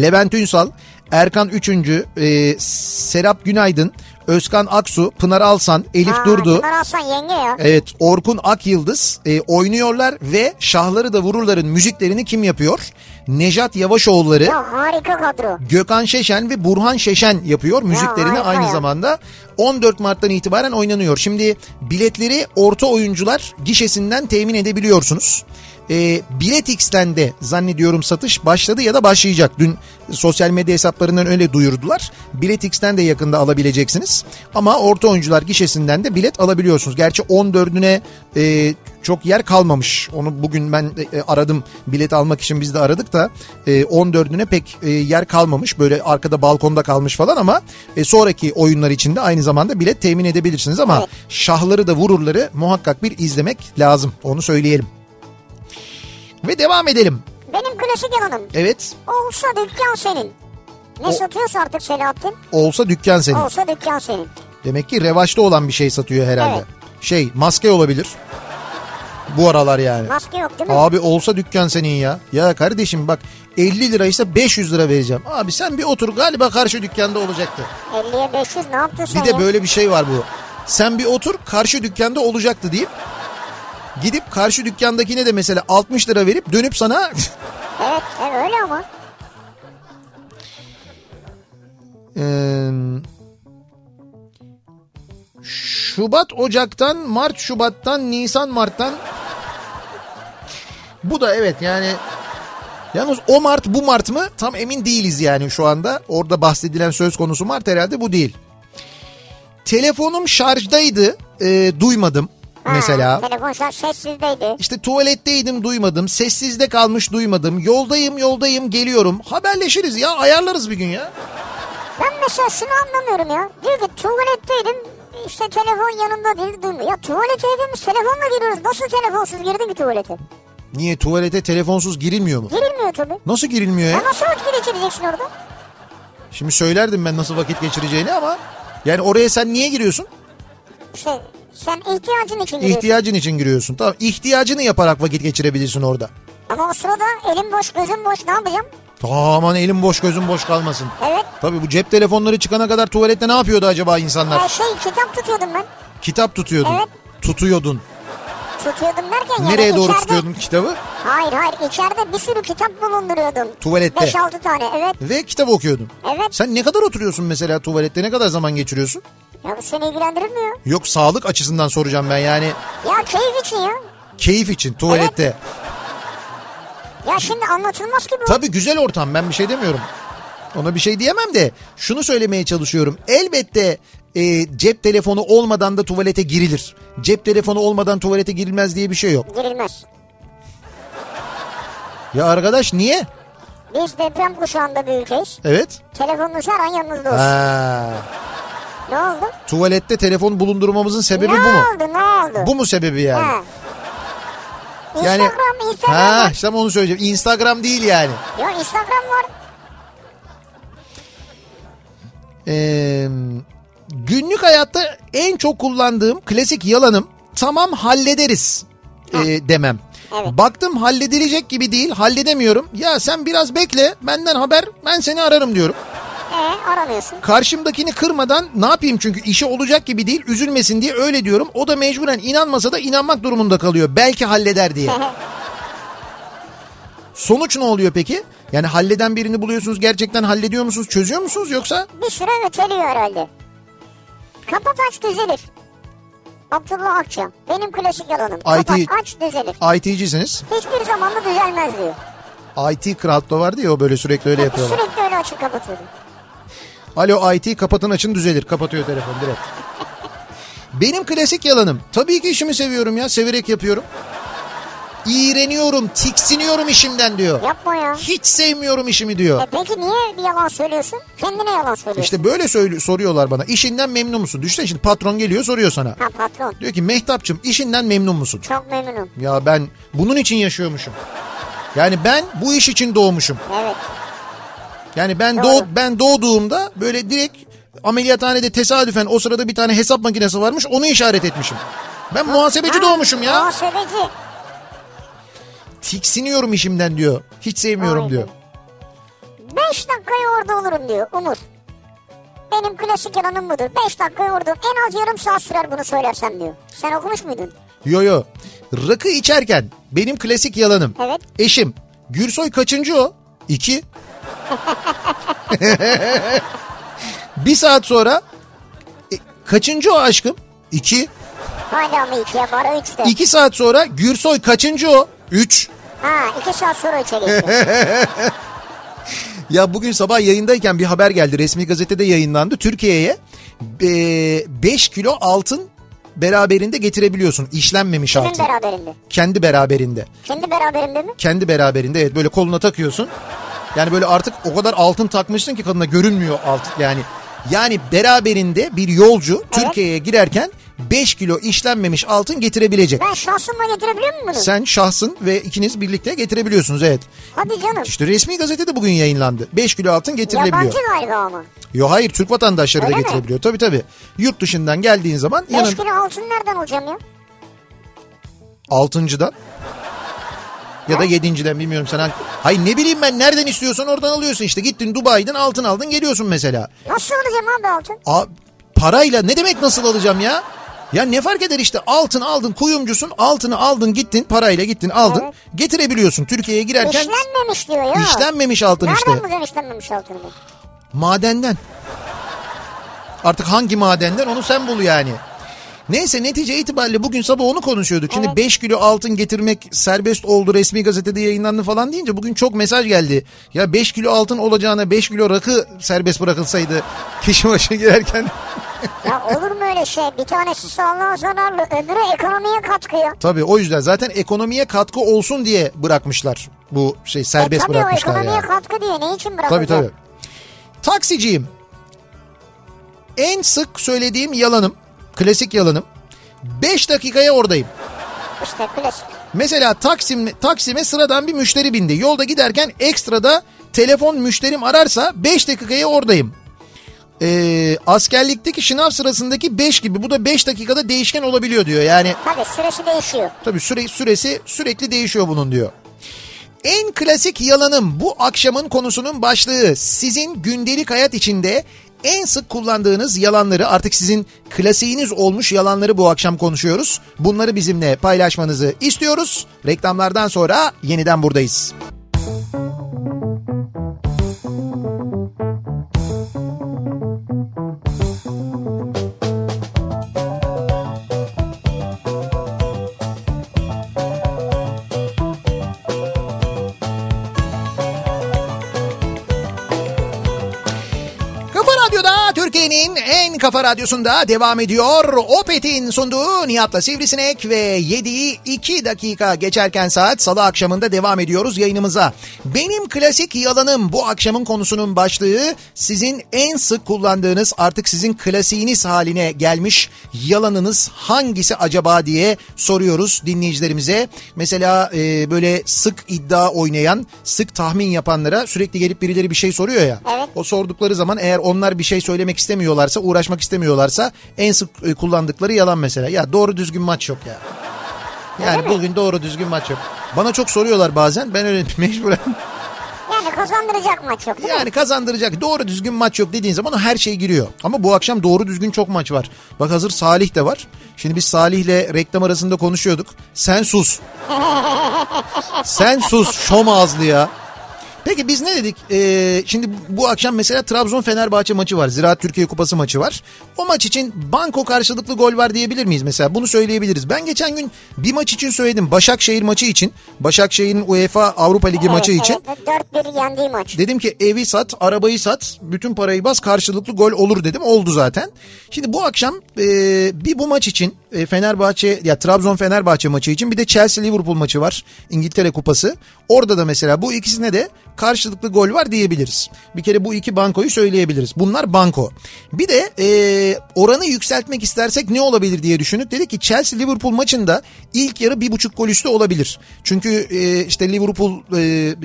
Speaker 2: Levent Ünsal, Erkan Üçüncü, e, Serap Günaydın, Özkan Aksu, Pınar Alsan, Elif
Speaker 1: Aa,
Speaker 2: Durdu.
Speaker 1: Pınar Alsan yenge ya.
Speaker 2: Evet Orkun Akyıldız e, oynuyorlar ve Şahları da Vururlar'ın müziklerini kim yapıyor? Nejat Yavaşoğulları,
Speaker 1: Ya harika kadro.
Speaker 2: Gökhan Şeşen ve Burhan Şeşen yapıyor müziklerini
Speaker 1: harika
Speaker 2: aynı
Speaker 1: ya.
Speaker 2: zamanda. 14 Mart'tan itibaren oynanıyor. Şimdi biletleri orta oyuncular gişesinden temin edebiliyorsunuz. E, Biletix'ten de zannediyorum satış başladı ya da başlayacak. Dün sosyal medya hesaplarından öyle duyurdular. Biletix'ten de yakında alabileceksiniz. Ama orta oyuncular gişesinden de bilet alabiliyorsunuz. Gerçi 14'üne e, çok yer kalmamış. Onu bugün ben e, aradım. Bilet almak için biz de aradık da e, 14'üne pek e, yer kalmamış. Böyle arkada balkonda kalmış falan ama e, sonraki oyunlar için de aynı zamanda bilet temin edebilirsiniz ama
Speaker 1: Evet.
Speaker 2: şahları da vururları muhakkak bir izlemek lazım. Onu söyleyelim. Ve devam edelim.
Speaker 1: Benim klasik yalanım.
Speaker 2: Evet.
Speaker 1: Olsa dükkan senin. Ne satıyorsa artık Selahattin.
Speaker 2: Olsa dükkan senin.
Speaker 1: Olsa dükkan senin.
Speaker 2: Demek ki revaçta olan bir şey satıyor herhalde.
Speaker 1: Evet.
Speaker 2: Şey maske olabilir. Bu aralar yani.
Speaker 1: Maske yok değil mi?
Speaker 2: Abi olsa dükkan senin ya. Ya kardeşim bak 50 liraysa 500 lira vereceğim. Abi sen bir otur galiba karşı dükkanda olacaktı.
Speaker 1: 50'ye 500 ne yaptın sen
Speaker 2: Bir de
Speaker 1: ya?
Speaker 2: böyle bir şey var bu. Sen bir otur karşı dükkanda olacaktı deyip gidip karşı dükkandakine de mesela 60 lira verip dönüp sana
Speaker 1: Evet, evet öyle ama.
Speaker 2: Ee, Şubat Ocak'tan Mart Şubat'tan Nisan Mart'tan bu da evet yani Yalnız o Mart bu Mart mı tam emin değiliz yani şu anda. Orada bahsedilen söz konusu Mart herhalde bu değil. Telefonum şarjdaydı e, duymadım
Speaker 1: Ha,
Speaker 2: mesela.
Speaker 1: Telefon şarj sessizdeydi.
Speaker 2: İşte tuvaletteydim duymadım. Sessizde kalmış duymadım. Yoldayım yoldayım geliyorum. Haberleşiriz ya ayarlarız bir gün ya.
Speaker 1: Ben mesela şunu anlamıyorum ya. Diyor ki tuvaletteydim işte telefon yanımda değil duymuyor. Ya tuvaletteydim telefonla giriyoruz. Nasıl telefonsuz girdin ki tuvalete?
Speaker 2: Niye tuvalete telefonsuz girilmiyor mu?
Speaker 1: Girilmiyor tabii.
Speaker 2: Nasıl girilmiyor ya?
Speaker 1: Ya nasıl vakit geçireceksin orada?
Speaker 2: Şimdi söylerdim ben nasıl vakit geçireceğini ama yani oraya sen niye giriyorsun?
Speaker 1: İşte sen ihtiyacın için giriyorsun.
Speaker 2: İhtiyacın için giriyorsun. Tamam ihtiyacını yaparak vakit geçirebilirsin orada.
Speaker 1: Ama o sırada elim boş gözüm boş ne yapacağım?
Speaker 2: Aman elim boş gözüm boş kalmasın.
Speaker 1: Evet.
Speaker 2: Tabii bu cep telefonları çıkana kadar tuvalette ne yapıyordu acaba
Speaker 1: Ya
Speaker 2: insanlar?
Speaker 1: şey kitap tutuyordum ben.
Speaker 2: Kitap tutuyordun.
Speaker 1: Evet.
Speaker 2: Tutuyordun.
Speaker 1: Tutuyordum derken
Speaker 2: Nereye
Speaker 1: yani
Speaker 2: doğru
Speaker 1: içeride-
Speaker 2: tutuyordun kitabı?
Speaker 1: Hayır hayır içeride bir sürü kitap bulunduruyordum.
Speaker 2: Tuvalette.
Speaker 1: 5-6 tane evet.
Speaker 2: Ve kitap okuyordun.
Speaker 1: Evet.
Speaker 2: Sen ne kadar oturuyorsun mesela tuvalette ne kadar zaman geçiriyorsun?
Speaker 1: Ya bu seni ilgilendirir mi ya?
Speaker 2: Yok sağlık açısından soracağım ben yani
Speaker 1: Ya keyif için ya.
Speaker 2: keyif için tuvalette.
Speaker 1: Ya şimdi anlatılmaz ki bu.
Speaker 2: Tabii güzel ortam ben bir şey demiyorum. Ona bir şey diyemem de şunu söylemeye çalışıyorum. Elbette e, cep telefonu olmadan da tuvalete girilir. Cep telefonu olmadan tuvalete girilmez diye bir şey yok.
Speaker 1: Girilmez.
Speaker 2: Ya arkadaş niye?
Speaker 1: Biz deprem kuşağında bir ülkeyiz.
Speaker 2: Evet.
Speaker 1: Telefonunuz her an yanınızda olsun.
Speaker 2: Ha,
Speaker 1: Ne oldu?
Speaker 2: tuvalette telefon bulundurmamızın sebebi
Speaker 1: ne
Speaker 2: bu mu?
Speaker 1: oldu ne oldu?
Speaker 2: Bu mu sebebi yani?
Speaker 1: Ha.
Speaker 2: Yani-
Speaker 1: Instagram, Instagram
Speaker 2: Ha,
Speaker 1: var.
Speaker 2: işte onu söyleyeceğim. Instagram değil yani.
Speaker 1: Ya Instagram var.
Speaker 2: Ee, günlük hayatta en çok kullandığım klasik yalanım tamam hallederiz e, demem.
Speaker 1: Evet.
Speaker 2: Baktım halledilecek gibi değil halledemiyorum. Ya sen biraz bekle benden haber ben seni ararım diyorum.
Speaker 1: Ee, aramıyorsun.
Speaker 2: Karşımdakini kırmadan ne yapayım çünkü işe olacak gibi değil üzülmesin diye öyle diyorum. O da mecburen inanmasa da inanmak durumunda kalıyor belki halleder diye. Sonuç ne oluyor peki? Yani halleden birini buluyorsunuz gerçekten hallediyor musunuz çözüyor musunuz yoksa?
Speaker 1: bir süre öteliyor herhalde. Kapat aç düzelir. Abdullah Akça. Benim klasik yalanım. Kapat
Speaker 2: IT
Speaker 1: aç düzelir.
Speaker 2: IT'cisiniz.
Speaker 1: Hiçbir zaman da düzelmez diyor.
Speaker 2: IT Kralto vardı ya o böyle sürekli öyle yapıyorlar.
Speaker 1: Sürekli öyle açıp kapatıyordu.
Speaker 2: Alo IT kapatın açın düzelir. Kapatıyor telefon direkt. Benim klasik yalanım. Tabii ki işimi seviyorum ya. Severek yapıyorum. İğreniyorum, tiksiniyorum işimden diyor.
Speaker 1: Yapma ya.
Speaker 2: Hiç sevmiyorum işimi diyor.
Speaker 1: E peki niye bir yalan söylüyorsun? Kendine yalan söylüyorsun.
Speaker 2: İşte böyle söyle- soruyorlar bana. İşinden memnun musun? Düşünsene şimdi patron geliyor soruyor sana.
Speaker 1: Ha patron.
Speaker 2: Diyor ki Mehtapçım işinden memnun musun?
Speaker 1: Çok memnunum.
Speaker 2: Ya ben bunun için yaşıyormuşum. Yani ben bu iş için doğmuşum.
Speaker 1: Evet.
Speaker 2: Yani ben
Speaker 1: Doğru.
Speaker 2: doğ ben doğduğumda böyle direkt ameliyathanede tesadüfen o sırada bir tane hesap makinesi varmış onu işaret etmişim. Ben muhasebeci
Speaker 1: Ha,
Speaker 2: doğmuşum ya.
Speaker 1: Muhasebeci.
Speaker 2: Tiksiniyorum işimden diyor. Hiç sevmiyorum
Speaker 1: Aynen.
Speaker 2: diyor.
Speaker 1: Beş dakikaya orada olurum diyor Umut. Benim klasik yalanım budur. Beş dakikaya orada en az yarım saat sürer bunu söylersem diyor. Sen okumuş muydun?
Speaker 2: Yo yo. Rakı içerken benim klasik yalanım.
Speaker 1: Evet.
Speaker 2: Eşim Gürsoy kaçıncı o? İki. bir saat sonra "E, kaçıncı o aşkım? İki.
Speaker 1: Hala mı ikiye bara üçte?
Speaker 2: İki saat sonra Gürsoy kaçıncı o? Üç.
Speaker 1: Ha iki saat sonra içeri geçiyor.
Speaker 2: Ya bugün sabah yayındayken bir haber geldi. Resmi gazetede yayınlandı. Türkiye'ye 5 kilo altın beraberinde getirebiliyorsun. İşlenmemiş
Speaker 1: Kimin
Speaker 2: altın.
Speaker 1: beraberinde?
Speaker 2: Kendi beraberinde.
Speaker 1: Kendi beraberinde mi?
Speaker 2: Kendi beraberinde evet böyle koluna takıyorsun. Yani böyle artık o kadar altın takmışsın ki kadına görünmüyor altın yani. Yani beraberinde bir yolcu Türkiye'ye girerken 5 kilo işlenmemiş altın getirebilecek.
Speaker 1: Ben şansımla getirebiliyor muyum bunu?
Speaker 2: Sen şahsın ve ikiniz birlikte getirebiliyorsunuz evet.
Speaker 1: Hadi canım.
Speaker 2: İşte resmi gazetede bugün yayınlandı. 5 kilo altın getirilebiliyor.
Speaker 1: Yabancı galiba ama.
Speaker 2: Yo hayır Türk vatandaşları
Speaker 1: Öyle
Speaker 2: da
Speaker 1: mi?
Speaker 2: getirebiliyor. Tabii tabii. Yurt dışından geldiğin zaman yanın
Speaker 1: Beş kilo altın nereden alacağım ya?
Speaker 2: altıncıdan ya da yedinciden bilmiyorum sana. Hayır ne bileyim ben nereden istiyorsan oradan alıyorsun işte. Gittin Dubai'den altın aldın geliyorsun mesela.
Speaker 1: Nasıl alacağım abi altın?
Speaker 2: A, parayla ne demek nasıl alacağım ya? Ya ne fark eder işte altın aldın kuyumcusun altını aldın gittin parayla gittin aldın
Speaker 1: Evet.
Speaker 2: getirebiliyorsun Türkiye'ye girerken
Speaker 1: İşlenmemiş diyor ya.
Speaker 2: işlenmemiş altın
Speaker 1: Nereden
Speaker 2: işte
Speaker 1: bulacaksın işlenmemiş altını? be?
Speaker 2: madenden artık hangi madenden onu sen bul yani Neyse netice itibariyle bugün sabah onu konuşuyorduk. Şimdi
Speaker 1: Evet.
Speaker 2: 5 kilo altın getirmek serbest oldu resmi gazetede yayınlandı falan deyince bugün çok mesaj geldi. Ya 5 kilo altın olacağına 5 kilo rakı serbest bırakılsaydı kişi başı girerken.
Speaker 1: Ya olur mu öyle şey? Bir tanesi sağlığa zararlı, öbürü ekonomiye katkı ya.
Speaker 2: Tabii o yüzden zaten ekonomiye katkı olsun diye bırakmışlar bu şey
Speaker 1: E,
Speaker 2: serbest
Speaker 1: tabii o
Speaker 2: bırakmışlar
Speaker 1: ekonomiye
Speaker 2: yani.
Speaker 1: katkı diye ne için
Speaker 2: Tabii
Speaker 1: bırakacak?
Speaker 2: tabii. Taksiciyim. En sık söylediğim yalanım, klasik yalanım. 5 dakikaya oradayım.
Speaker 1: İşte klasik.
Speaker 2: Mesela Taksim Taksim'e sıradan bir müşteri bindi. Yolda giderken ekstra telefon müşterim ararsa 5 dakikaya oradayım. Ee, askerlikteki şınav sırasındaki 5 gibi bu da 5 dakikada değişken olabiliyor diyor. Yani
Speaker 1: Tabii süresi değişiyor.
Speaker 2: tabii süre, süresi sürekli değişiyor bunun diyor. En klasik yalanım bu akşamın konusunun başlığı. Sizin gündelik hayat içinde en sık kullandığınız yalanları artık sizin klasiğiniz olmuş yalanları bu akşam konuşuyoruz. Bunları bizimle paylaşmanızı istiyoruz. Reklamlardan sonra yeniden buradayız. Kafa Radyo'da Türkiye'nin en kafa radyosunda devam ediyor. Opet'in sunduğu Nihat'la Sivrisinek ve yediği 2 dakika geçerken saat salı akşamında devam ediyoruz yayınımıza. Benim klasik yalanım bu akşamın konusunun başlığı sizin en sık kullandığınız artık sizin klasiğiniz haline gelmiş yalanınız hangisi acaba diye soruyoruz dinleyicilerimize. Mesela e, böyle sık iddia oynayan, sık tahmin yapanlara sürekli gelip birileri bir şey soruyor ya.
Speaker 1: Evet.
Speaker 2: O sordukları zaman eğer onlar bir şey söylemek istemiyorlarsa, uğraşmak istemiyorlarsa en sık e, kullandıkları yalan mesela. Ya doğru düzgün maç yok ya. Yani bugün doğru düzgün maç yok. Bana çok soruyorlar bazen. Ben öyle mecburen.
Speaker 1: Yani kazandıracak maç yok değil mi?
Speaker 2: Yani kazandıracak doğru düzgün maç yok dediğin zaman o her şey giriyor. Ama bu akşam doğru düzgün çok maç var. Bak hazır Salih de var. Şimdi biz Salih'le reklam arasında konuşuyorduk. Sen sus. Sen sus şom ağızlı ya. Peki biz ne dedik? Ee, şimdi bu akşam mesela Trabzon Fenerbahçe maçı var. Ziraat Türkiye Kupası maçı var. O maç için banko karşılıklı gol var diyebilir miyiz mesela? Bunu söyleyebiliriz. Ben geçen gün bir maç için söyledim. Başakşehir maçı için. Başakşehir'in UEFA Avrupa Ligi maçı
Speaker 1: Evet,
Speaker 2: için.
Speaker 1: evet. 4-1 yendiği maç.
Speaker 2: Dedim ki evi sat, arabayı sat, bütün parayı bas karşılıklı gol olur dedim. Oldu zaten. Şimdi bu akşam e, bir bu maç için e, Fenerbahçe ya Trabzon Fenerbahçe maçı için bir de Chelsea Liverpool maçı var. İngiltere Kupası. Orada da mesela bu ikisine de karşılıklı gol var diyebiliriz. Bir kere bu iki bankoyu söyleyebiliriz. Bunlar banko. Bir de e, oranı yükseltmek istersek ne olabilir diye düşündük. Dedik ki Chelsea Liverpool maçında ilk yarı bir buçuk gol üstü olabilir. Çünkü e, işte Liverpool e,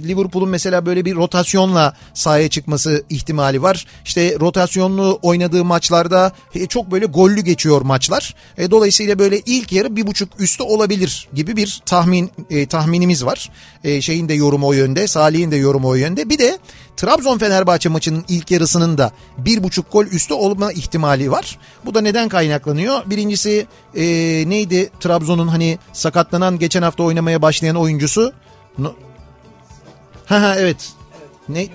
Speaker 2: Liverpool'un mesela böyle bir rotasyonla sahaya çıkması ihtimali var. İşte rotasyonlu oynadığı maçlarda e, çok böyle gollü geçiyor maçlar. E, dolayısıyla böyle ilk yarı bir buçuk üstü olabilir gibi bir tahmin e, tahminimiz var. E, şeyin de yorumu o yönde, Salih'in de yorumu o yönde. Bir de Trabzon Fenerbahçe maçının ilk yarısının da bir buçuk gol üstü olma ihtimali var. Bu da neden kaynaklanıyor? Birincisi e, neydi Trabzon'un hani sakatlanan geçen hafta oynamaya başlayan oyuncusu? No- Ha ha evet. Ne?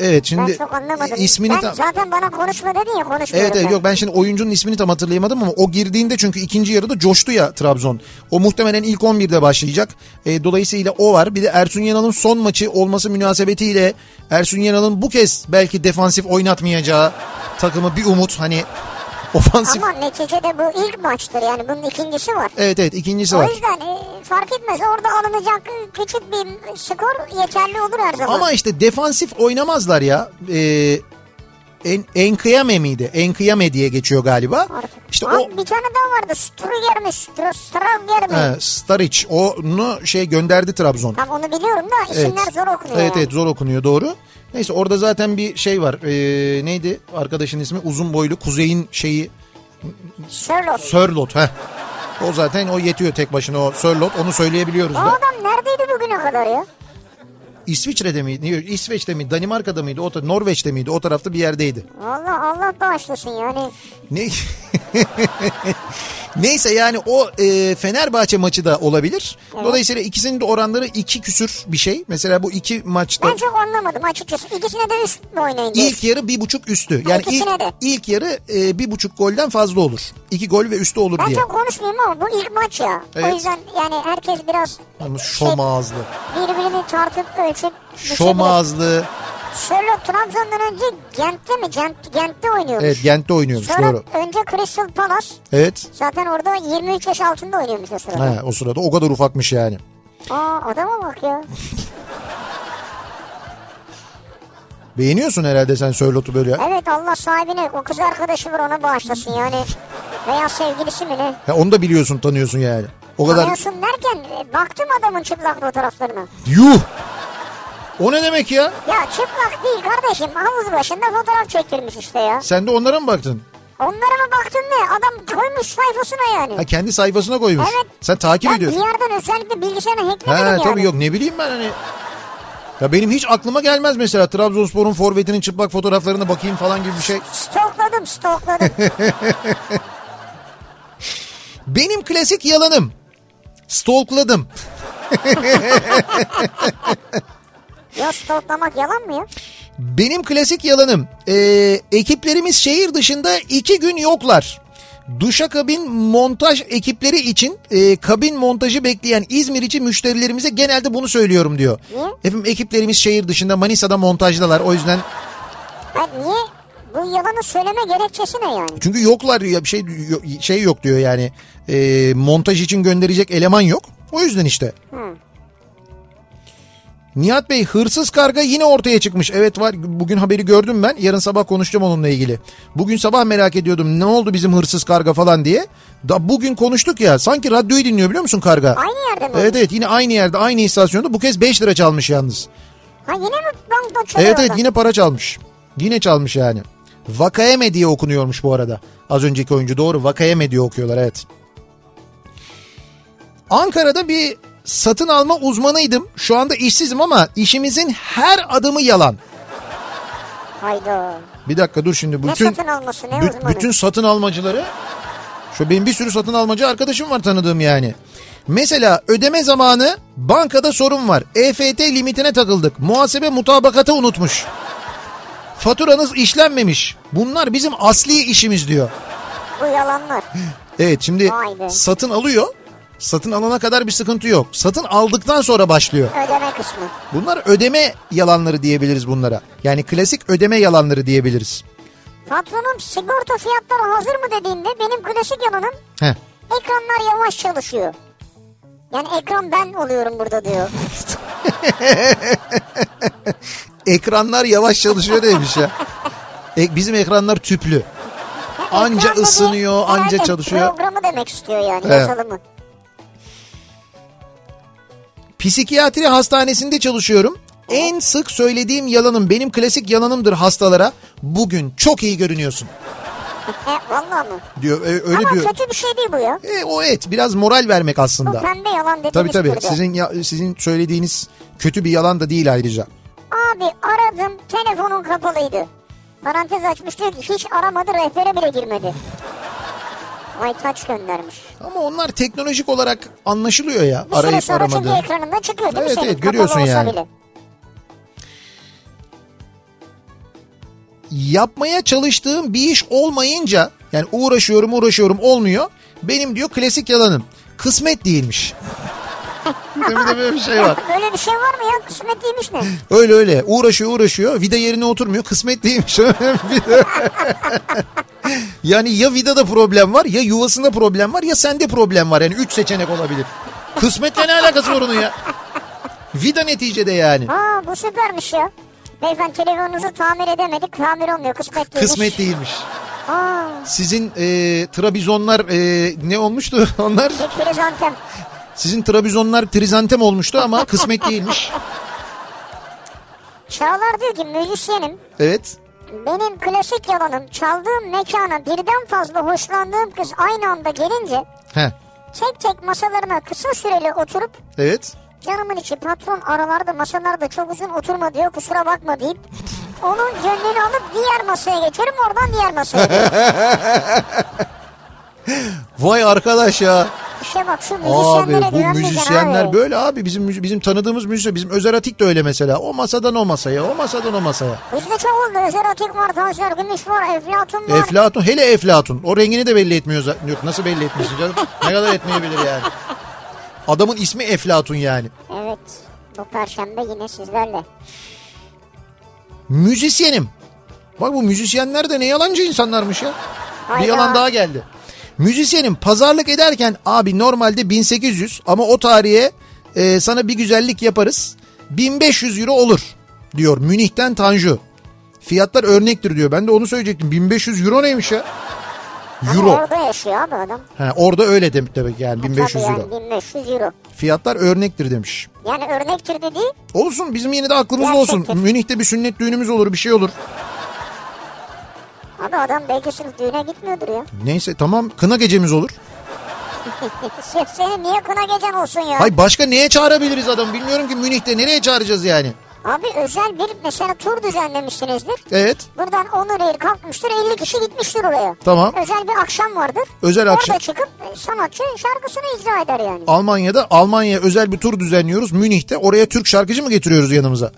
Speaker 2: Evet şimdi
Speaker 1: Ben çok anlamadım.
Speaker 2: ismini
Speaker 1: ben
Speaker 2: tam-
Speaker 1: zaten bana konuşma dedin ya konuşmuyorum
Speaker 2: Evet evet
Speaker 1: ben.
Speaker 2: yok ben şimdi oyuncunun ismini tam hatırlayamadım ama o girdiğinde çünkü ikinci yarıda coştu ya Trabzon. O muhtemelen ilk 11'de başlayacak. E, dolayısıyla o var. Bir de Ersun Yanal'ın son maçı olması münasebetiyle Ersun Yanal'ın bu kez belki defansif oynatmayacağı takımı bir umut hani ofansif.
Speaker 1: Ama neticede bu ilk maçtır yani bunun ikincisi var.
Speaker 2: Evet evet ikincisi
Speaker 1: O
Speaker 2: var.
Speaker 1: yüzden e, fark etmez orada alınacak küçük bir skor yeterli olur her zaman.
Speaker 2: Ama işte defansif oynamazlar ya. Ee, en Enkıyame miydi? Enkıyame diye geçiyor galiba.
Speaker 1: Artık.
Speaker 2: İşte
Speaker 1: Abi
Speaker 2: o
Speaker 1: Bir tane daha vardı Struger mi Stru- Struger mi?
Speaker 2: he, Staric onu şey gönderdi Trabzon.
Speaker 1: Tam onu biliyorum da isimler zor okunuyor.
Speaker 2: Evet
Speaker 1: yani.
Speaker 2: evet zor okunuyor doğru. Neyse orada zaten bir şey var. Ee, neydi arkadaşın ismi? Uzun boylu Kuzey'in şeyi
Speaker 1: Sherlock.
Speaker 2: Sörlot. Heh. O zaten o yetiyor tek başına o Sörlot. Onu söyleyebiliyoruz
Speaker 1: O
Speaker 2: da.
Speaker 1: adam neredeydi bugüne kadar ya?
Speaker 2: İsviçre'de miydi? İsveç'te miydi? Danimarka'da mıydı? O ta- Norveç'te miydi? O tarafta bir yerdeydi.
Speaker 1: Allah Allah bağışlasın yani.
Speaker 2: Ne? Neyse yani o e, Fenerbahçe maçı da olabilir. Dolayısıyla ikisinin de oranları iki küsür bir şey. Mesela bu iki maçta
Speaker 1: Ben çok anlamadım açıkçası. İkisine de üst mü oynayın diyorsun?
Speaker 2: ilk yarı bir buçuk üstü. Yani ilk,
Speaker 1: İkisine de.
Speaker 2: ilk yarı e, bir buçuk golden fazla olur. İki gol ve üstü olur
Speaker 1: Ben
Speaker 2: diye.
Speaker 1: çok konuşmayayım ama bu ilk maç ya.
Speaker 2: Evet.
Speaker 1: O yüzden yani herkes biraz
Speaker 2: Ama şom ağızlı.
Speaker 1: birbirini tartıp ölçüp
Speaker 2: Şom
Speaker 1: biçebilir.
Speaker 2: ağızlı.
Speaker 1: Sherlock Trabzon'dan önce Gent'te mi? Gent, Gent'te oynuyormuş.
Speaker 2: Evet Gent'te oynuyormuş
Speaker 1: Sonra
Speaker 2: doğru.
Speaker 1: önce Crystal Palace.
Speaker 2: Evet.
Speaker 1: Zaten orada 23 yaş altında oynuyormuş o sırada.
Speaker 2: Ha, o sırada o kadar ufakmış yani.
Speaker 1: Aa adama bak ya.
Speaker 2: Beğeniyorsun herhalde sen Sörlot'u böyle. ya.
Speaker 1: Evet Allah sahibine o kız arkadaşı var ona bağışlasın yani. Veya sevgilisi mi ne?
Speaker 2: Ha, onu da biliyorsun tanıyorsun yani. O kadar.
Speaker 1: Tanıyorsun derken e, baktım adamın çıplak fotoğraflarına.
Speaker 2: Yuh. O ne demek ya?
Speaker 1: Ya çıplak değil kardeşim havuz başında fotoğraf çektirmiş işte ya.
Speaker 2: Sen de onlara mı baktın?
Speaker 1: Onlara mı baktın ne? Adam koymuş sayfasına yani.
Speaker 2: Ha kendi sayfasına koymuş.
Speaker 1: Evet.
Speaker 2: Sen takip
Speaker 1: ben bir
Speaker 2: ediyorsun.
Speaker 1: yerden özellikle bilgisayarını hacklemedim
Speaker 2: Ha
Speaker 1: yani.
Speaker 2: tabii yok ne bileyim ben hani. Ya benim hiç aklıma gelmez mesela Trabzonspor'un forvetinin çıplak fotoğraflarına bakayım falan gibi bir şey.
Speaker 1: Stokladım stokladım.
Speaker 2: Benim klasik yalanım. Stalkladım.
Speaker 1: ya stoklamak yalan mı ya?
Speaker 2: Benim klasik yalanım. Ee, ekiplerimiz şehir dışında iki gün yoklar. Duşakabin montaj ekipleri için e, kabin montajı bekleyen İzmir için müşterilerimize genelde bunu söylüyorum diyor.
Speaker 1: Niye?
Speaker 2: Efendim ekiplerimiz şehir dışında Manisa'da montajdalar o yüzden.
Speaker 1: Ha niye? Bu yalanı söyleme gerekçesi ne yani?
Speaker 2: Çünkü yoklar diyor ya bir şey yo- şey yok diyor yani E, montaj için gönderecek eleman yok. O yüzden işte. Nihat Bey hırsız karga yine ortaya çıkmış. Evet var bugün haberi gördüm ben. Yarın sabah konuşacağım onunla ilgili. Bugün sabah merak ediyordum ne oldu bizim hırsız karga falan diye. Da bugün konuştuk ya sanki radyoyu dinliyor biliyor musun karga?
Speaker 1: Aynı yerde mi?
Speaker 2: Evet evet yine aynı yerde aynı istasyonda bu kez 5 lira çalmış yalnız.
Speaker 1: Ha yine mi bankta çalıyor
Speaker 2: Evet evet
Speaker 1: adam?
Speaker 2: yine para çalmış. Yine çalmış yani. Vakayeme diye okunuyormuş bu arada. Az önceki oyuncu doğru Vakayeme diye okuyorlar evet. Ankara'da bir satın alma uzmanıydım. Şu anda işsizim ama işimizin her adımı yalan.
Speaker 1: Hayda.
Speaker 2: Bir dakika dur şimdi
Speaker 1: Ne
Speaker 2: bütün
Speaker 1: satın alması ne
Speaker 2: bü-
Speaker 1: uzmanı?
Speaker 2: bütün satın almacıları şu benim bir sürü satın almacı arkadaşım var tanıdığım yani. Mesela ödeme zamanı bankada sorun var. EFT limitine takıldık. Muhasebe mutabakatı unutmuş. Faturanız işlenmemiş. Bunlar bizim asli işimiz diyor.
Speaker 1: Bu yalanlar.
Speaker 2: Evet şimdi
Speaker 1: Vay be.
Speaker 2: satın alıyor. Satın alana kadar bir sıkıntı yok. Satın aldıktan sonra başlıyor.
Speaker 1: Ödeme kısmı.
Speaker 2: Bunlar ödeme yalanları diyebiliriz bunlara. Yani klasik ödeme yalanları diyebiliriz.
Speaker 1: Patronum sigorta fiyatları hazır mı dediğinde benim klasik yalanım
Speaker 2: Heh.
Speaker 1: ekranlar yavaş çalışıyor. Yani ekran ben oluyorum burada diyor.
Speaker 2: Ekranlar yavaş çalışıyor demiş ya. E, bizim ekranlar tüplü.
Speaker 1: Yani
Speaker 2: Anca
Speaker 1: ekran dediği
Speaker 2: ısınıyor, anca
Speaker 1: herhalde
Speaker 2: çalışıyor.
Speaker 1: Programı demek istiyor yani
Speaker 2: Evet.
Speaker 1: yazılımı.
Speaker 2: Psikiyatri hastanesinde çalışıyorum. En sık söylediğim yalanım benim klasik yalanımdır hastalara. Bugün çok iyi görünüyorsun
Speaker 1: E, valla mı?
Speaker 2: diyor. E, öyle
Speaker 1: Ama
Speaker 2: diyor.
Speaker 1: kötü bir şey değil bu ya.
Speaker 2: E, o evet biraz moral vermek
Speaker 1: Bu
Speaker 2: aslında.
Speaker 1: pembe yalan dediğimiz
Speaker 2: Tabii tabii.
Speaker 1: türde.
Speaker 2: Sizin ya- sizin söylediğiniz kötü bir yalan da değil ayrıca.
Speaker 1: Abi aradım telefonun kapalıydı. Parantez açmış diyor ki hiç aramadı rehbere bile girmedi. Vay taç göndermiş.
Speaker 2: Ama onlar teknolojik olarak anlaşılıyor ya
Speaker 1: Bir süre
Speaker 2: arayıp
Speaker 1: sonra
Speaker 2: aramadığı.
Speaker 1: çünkü ekranında çıkıyor değil
Speaker 2: Evet,
Speaker 1: mi senin?
Speaker 2: evet,
Speaker 1: Kapalı
Speaker 2: görüyorsun
Speaker 1: olsa
Speaker 2: yani.
Speaker 1: bile.
Speaker 2: yapmaya çalıştığım bir iş olmayınca yani uğraşıyorum uğraşıyorum olmuyor. Benim diyor klasik yalanım kısmet değilmiş. Tabii de böyle bir şey var.
Speaker 1: Böyle bir şey var mı ya? Kısmet değilmiş ne?
Speaker 2: Öyle öyle uğraşıyor uğraşıyor vida yerine oturmuyor kısmet değilmiş. Bir de- yani ya vidada problem var ya yuvasında problem var ya sende problem var yani üç seçenek olabilir. Kısmetle ne alakası var onun ya? Vida neticede yani.
Speaker 1: Aa bu süpermiş ya. Beyefendi telefonunuzu tamir edemedik. Tamir olmuyor. Kısmet değilmiş.
Speaker 2: Kısmet değilmiş.
Speaker 1: Aa,
Speaker 2: Sizin e, trabizonlar e, ne olmuştu onlar?
Speaker 1: bir krizantem.
Speaker 2: Sizin Trabzonlar trizantem olmuştu ama kısmet değilmiş.
Speaker 1: Çağlar diyor ki müzisyenim.
Speaker 2: Evet.
Speaker 1: Benim klasik yalanım çaldığım mekana birden fazla hoşlandığım kız aynı anda gelince
Speaker 2: He.
Speaker 1: tek tek masalarına kısa süreli oturup
Speaker 2: Evet.
Speaker 1: Canımın içi patron aralarda masalarda çok uzun oturma diyor kusura bakma deyip onun gönlünü alıp diğer masaya geçerim oradan diğer masaya.
Speaker 2: Vay arkadaş ya.
Speaker 1: İşte bak şu
Speaker 2: Abi
Speaker 1: müzisyenlere
Speaker 2: bu
Speaker 1: güvenmeyeceksin
Speaker 2: müzisyenler
Speaker 1: abi.
Speaker 2: böyle abi bizim müzi- bizim tanıdığımız müzisyen bizim Özer Atik de öyle mesela. O masadan o masaya, o masadan o masaya.
Speaker 1: Bizde çok oldu. Özer Atik var, Tanser Gümüş var, Eflatun var.
Speaker 2: Eflatun hele Eflatun. O rengini de belli etmiyor zaten. Yok nasıl belli etmiyorsun canım? ne kadar etmeyebilir yani. Adamın ismi Eflatun yani.
Speaker 1: evet. Bu perşembe yine sizlerle.
Speaker 2: Müzisyenim. Bak bu müzisyenler de ne yalancı insanlarmış ya.
Speaker 1: Hayda.
Speaker 2: Bir yalan daha geldi. Müzisyenim pazarlık ederken abi normalde 1800 ama o tarihe e, sana bir güzellik yaparız. 1500 euro olur diyor Münih'ten Tanju. Fiyatlar örnektir diyor. Ben de onu söyleyecektim. 1500 euro neymiş ya?
Speaker 1: Ama
Speaker 2: Euro.
Speaker 1: orada yaşıyor abi adam.
Speaker 2: Ha, orada öyle demek demek yani 1500
Speaker 1: Tabii yani
Speaker 2: euro.
Speaker 1: 1500 euro.
Speaker 2: Fiyatlar örnektir demiş.
Speaker 1: Yani örnektir dedi.
Speaker 2: Olsun bizim yine de aklımızda olsun.
Speaker 1: Gerçektir.
Speaker 2: Münih'te bir sünnet düğünümüz olur bir şey olur.
Speaker 1: Abi adam belki sırf düğüne gitmiyordur ya.
Speaker 2: Neyse tamam kına gecemiz olur.
Speaker 1: Sırf senin niye kına gecen olsun ya?
Speaker 2: Hay başka neye çağırabiliriz adam bilmiyorum ki Münih'te nereye çağıracağız yani?
Speaker 1: Abi özel bir mesela tur düzenlemişsinizdir.
Speaker 2: Evet.
Speaker 1: Buradan Onur Air kalkmıştır 50 kişi gitmiştir oraya.
Speaker 2: Tamam.
Speaker 1: Özel bir akşam vardır.
Speaker 2: Özel
Speaker 1: Orada
Speaker 2: akşam.
Speaker 1: çıkıp e, sanatçı şarkısını icra eder yani.
Speaker 2: Almanya'da Almanya'ya özel bir tur düzenliyoruz. Münih'te oraya Türk şarkıcı mı getiriyoruz yanımıza?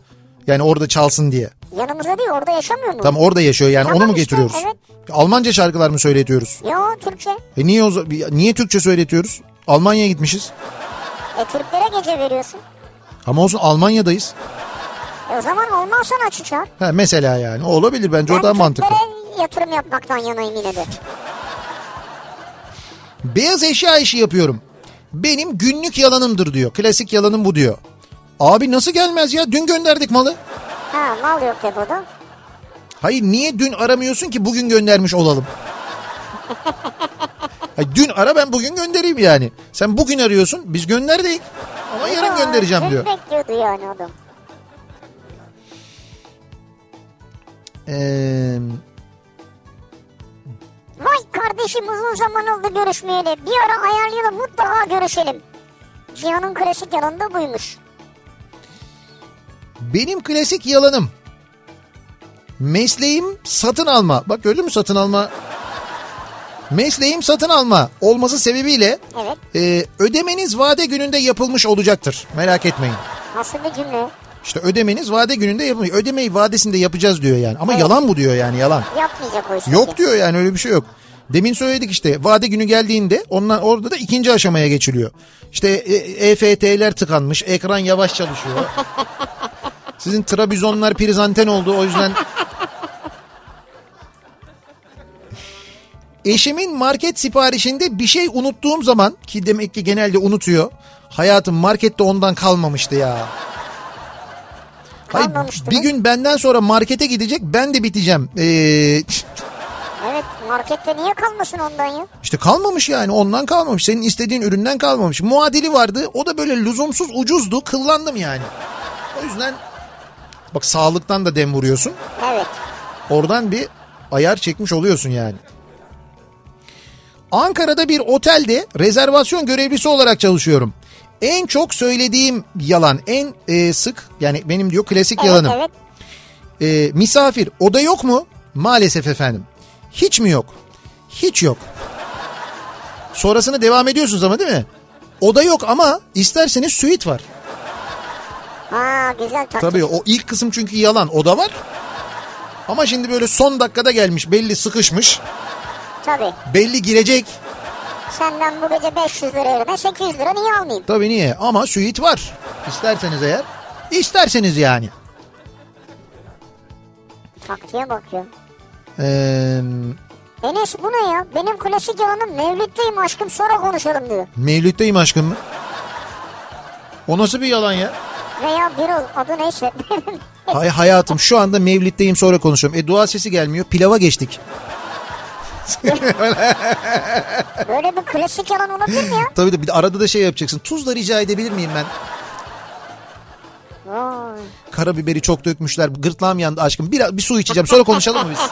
Speaker 2: Yani orada çalsın diye.
Speaker 1: Yanımızda değil orada yaşamıyor mu?
Speaker 2: Tam orada yaşıyor yani
Speaker 1: Tamam
Speaker 2: onu mu
Speaker 1: işte,
Speaker 2: getiriyoruz?
Speaker 1: evet.
Speaker 2: Almanca şarkılar mı söyletiyoruz?
Speaker 1: Yo Türkçe.
Speaker 2: E niye o za- niye Türkçe söyletiyoruz? Almanya'ya gitmişiz.
Speaker 1: E Türklere gece veriyorsun.
Speaker 2: Ama olsun Almanya'dayız.
Speaker 1: E o zaman olmaz sanatçı çağır.
Speaker 2: Ha, mesela yani o olabilir bence o
Speaker 1: Ben
Speaker 2: daha mantıklı.
Speaker 1: Türklere yatırım yapmaktan yanayım yine de.
Speaker 2: Beyaz eşya işi yapıyorum. Benim günlük yalanımdır diyor. Klasik yalanım bu diyor. Abi nasıl gelmez ya? Dün gönderdik malı.
Speaker 1: Ha mal yok depoda.
Speaker 2: Hayır niye dün aramıyorsun ki bugün göndermiş olalım? Hayır, dün ara ben bugün göndereyim yani. Sen bugün arıyorsun biz gönderdik. Ama yarın
Speaker 1: Aa,
Speaker 2: göndereceğim
Speaker 1: dün
Speaker 2: diyor.
Speaker 1: bekliyordu yani adam.
Speaker 2: Ee,
Speaker 1: Vay kardeşim uzun zaman oldu görüşmeyeli. Bir ara ayarlayalım mutlaka görüşelim. Cihan'ın klasik yalanı da buymuş.
Speaker 2: benim klasik yalanım. Mesleğim satın alma. Bak gördün mü satın alma? Mesleğim satın alma olması sebebiyle
Speaker 1: Evet.
Speaker 2: e, ödemeniz vade gününde yapılmış olacaktır. Merak etmeyin.
Speaker 1: Nasıl bir cümle?
Speaker 2: İşte ödemeniz vade gününde yapılmış. Ödemeyi vadesinde yapacağız diyor yani. Ama yalan bu diyor yani yalan.
Speaker 1: Yapmayacak o işi.
Speaker 2: Yok diyor yani öyle bir şey yok. Demin söyledik işte vade günü geldiğinde ondan orada da ikinci aşamaya geçiliyor. İşte e- EFT'ler tıkanmış, ekran yavaş çalışıyor. Sizin trabizonlar prizanten oldu o yüzden. Eşimin market siparişinde bir şey unuttuğum zaman ki demek ki genelde unutuyor. Hayatım markette ondan kalmamıştı ya. Hayır,
Speaker 1: Kalmamıştı
Speaker 2: bir
Speaker 1: mı?
Speaker 2: gün benden sonra markete gidecek ben de biteceğim. Ee,
Speaker 1: Evet markette niye kalmasın ondan ya?
Speaker 2: İşte kalmamış yani ondan kalmamış. Senin istediğin üründen kalmamış. Muadili vardı. O da böyle lüzumsuz ucuzdu. Kıllandım yani. O yüzden bak sağlıktan da dem vuruyorsun.
Speaker 1: Evet.
Speaker 2: Oradan bir ayar çekmiş oluyorsun yani. Ankara'da bir otelde rezervasyon görevlisi olarak çalışıyorum. En çok söylediğim yalan, en e, sık yani benim diyor klasik
Speaker 1: Evet
Speaker 2: yalanım.
Speaker 1: evet.
Speaker 2: E, misafir oda yok mu? Maalesef efendim. Hiç mi yok? Hiç yok. Sonrasını devam ediyorsunuz ama değil mi? Oda yok ama isterseniz suite var.
Speaker 1: Ha güzel taktik.
Speaker 2: Tabii o ilk kısım çünkü yalan oda var. Ama şimdi böyle son dakikada gelmiş belli sıkışmış.
Speaker 1: Tabii.
Speaker 2: Belli girecek.
Speaker 1: Senden bu gece 500 lira yerine 800 lira niye almayayım?
Speaker 2: Tabii niye? Ama suite var. İsterseniz eğer. İsterseniz yani.
Speaker 1: Taktiğe bak ya.
Speaker 2: Ee,
Speaker 1: Enes bu ne ya? Benim klasik yalanım Mevlüt'teyim aşkım sonra konuşalım diyor.
Speaker 2: Mevlüt'teyim aşkım mı? O nasıl bir yalan ya?
Speaker 1: Veya Birol adı neyse.
Speaker 2: Hay hayatım şu anda mevlitteyim sonra konuşuyorum. E dua sesi gelmiyor. Pilava geçtik.
Speaker 1: Böyle bir klasik yalan olabilir mi ya?
Speaker 2: Tabii de bir de arada da şey yapacaksın. Tuz da rica edebilir miyim ben?
Speaker 1: Vay.
Speaker 2: Karabiberi çok dökmüşler. Gırtlağım yandı aşkım. Bir, bir su içeceğim. Sonra konuşalım mı biz?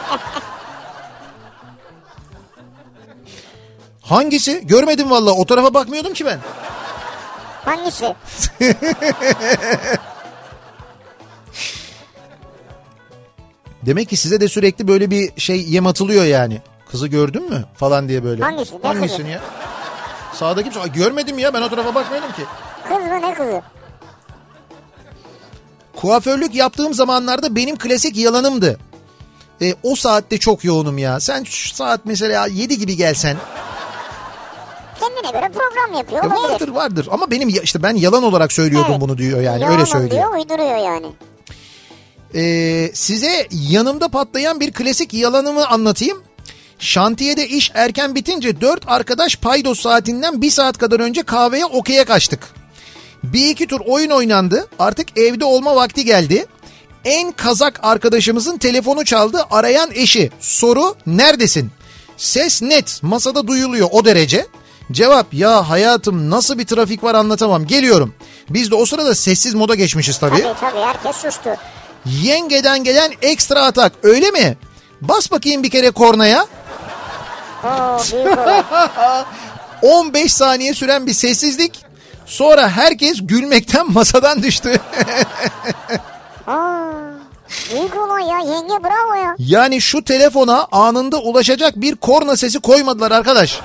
Speaker 2: Hangisi? Görmedim valla. O tarafa bakmıyordum ki ben.
Speaker 1: Hangisi?
Speaker 2: Demek ki size de sürekli böyle bir şey yem atılıyor yani. Kızı gördün mü falan diye böyle.
Speaker 1: Hangisi? Ne
Speaker 2: Hangisini
Speaker 1: kızı?
Speaker 2: ya? Sağda kimse. Ay, görmedim ya ben o tarafa bakmıyorum ki.
Speaker 1: Kız mı ne kızı?
Speaker 2: Kuaförlük yaptığım zamanlarda benim klasik yalanımdı. E, o saatte çok yoğunum ya. Sen şu saat mesela 7 gibi gelsen.
Speaker 1: Kendine göre program yapıyor
Speaker 2: E,
Speaker 1: olabilir.
Speaker 2: vardır vardır ama benim ya- işte ben yalan olarak söylüyordum
Speaker 1: Evet.
Speaker 2: bunu diyor yani öyle
Speaker 1: Yalanım
Speaker 2: söylüyor.
Speaker 1: diyor uyduruyor yani.
Speaker 2: Ee, size yanımda patlayan bir klasik yalanımı anlatayım. Şantiyede iş erken bitince dört arkadaş paydos saatinden bir saat kadar önce kahveye okey'e kaçtık. Bir iki tur oyun oynandı artık evde olma vakti geldi. En kazak arkadaşımızın telefonu çaldı arayan eşi soru neredesin? Ses net masada duyuluyor o derece. Cevap ya hayatım nasıl bir trafik var anlatamam geliyorum. Biz de o sırada sessiz moda geçmişiz tabii.
Speaker 1: Tabii tabii herkes sustu.
Speaker 2: Yengeden gelen ekstra atak öyle mi? Bas bakayım bir kere kornaya.
Speaker 1: Oo büyük olay.
Speaker 2: 15 saniye süren bir sessizlik. Sonra herkes gülmekten masadan düştü.
Speaker 1: Aa, büyük olay ya yenge bravo ya.
Speaker 2: yani şu telefona anında ulaşacak bir korna sesi koymadılar arkadaş.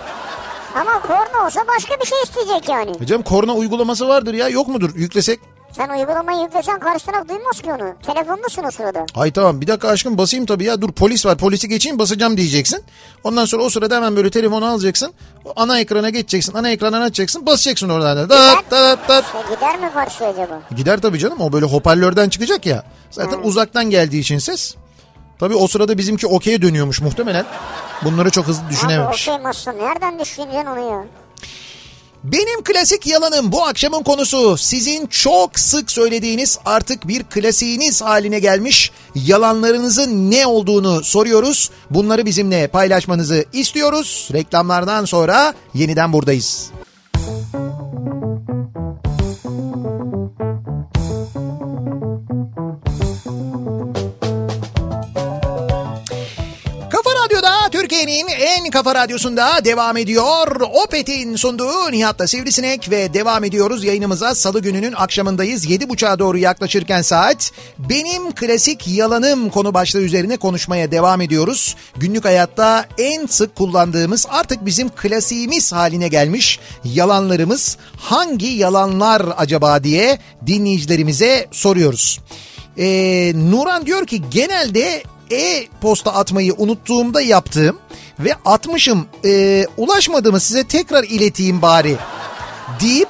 Speaker 1: Ama korna olsa başka bir şey isteyecek yani.
Speaker 2: Hocam E korna uygulaması vardır ya yok mudur yüklesek?
Speaker 1: Sen uygulamayı yüklesen karşı taraf duymaz ki onu. Telefonlusun o sırada.
Speaker 2: Ay tamam bir dakika aşkım basayım tabii ya dur polis var polisi geçeyim basacağım diyeceksin. Ondan sonra o sırada hemen böyle telefonu alacaksın. O ana ekrana geçeceksin ana ekrandan açacaksın basacaksın oradan. da. Dat, dat, dat.
Speaker 1: Ya gider mi karşı acaba?
Speaker 2: Gider tabii canım o böyle hoparlörden çıkacak ya. Zaten uzaktan geldiği için ses. Tabii o sırada bizimki okey'e dönüyormuş muhtemelen. Bunları çok hızlı
Speaker 1: Abi
Speaker 2: düşünememiş.
Speaker 1: okey masum nereden düşüneceksin onu ya?
Speaker 2: Benim klasik yalanım bu akşamın konusu. Sizin çok sık söylediğiniz artık bir klasiğiniz haline gelmiş yalanlarınızın ne olduğunu soruyoruz. Bunları bizimle paylaşmanızı istiyoruz. Reklamlardan sonra yeniden buradayız. Kafa Radyo'da Türkiye'nin en kafa radyosunda devam ediyor. Opet'in sunduğu Nihat'la Sivrisinek ve devam ediyoruz yayınımıza. Salı gününün akşamındayız. 7.30'a doğru yaklaşırken saat. Benim klasik yalanım konu başlığı üzerine konuşmaya devam ediyoruz. Günlük hayatta en sık kullandığımız artık bizim klasiğimiz haline gelmiş yalanlarımız hangi yalanlar acaba diye dinleyicilerimize soruyoruz. Ee, Nuran diyor ki genelde e-posta atmayı unuttuğumda yaptığım ve atmışım e, ulaşmadığımı size tekrar ileteyim bari deyip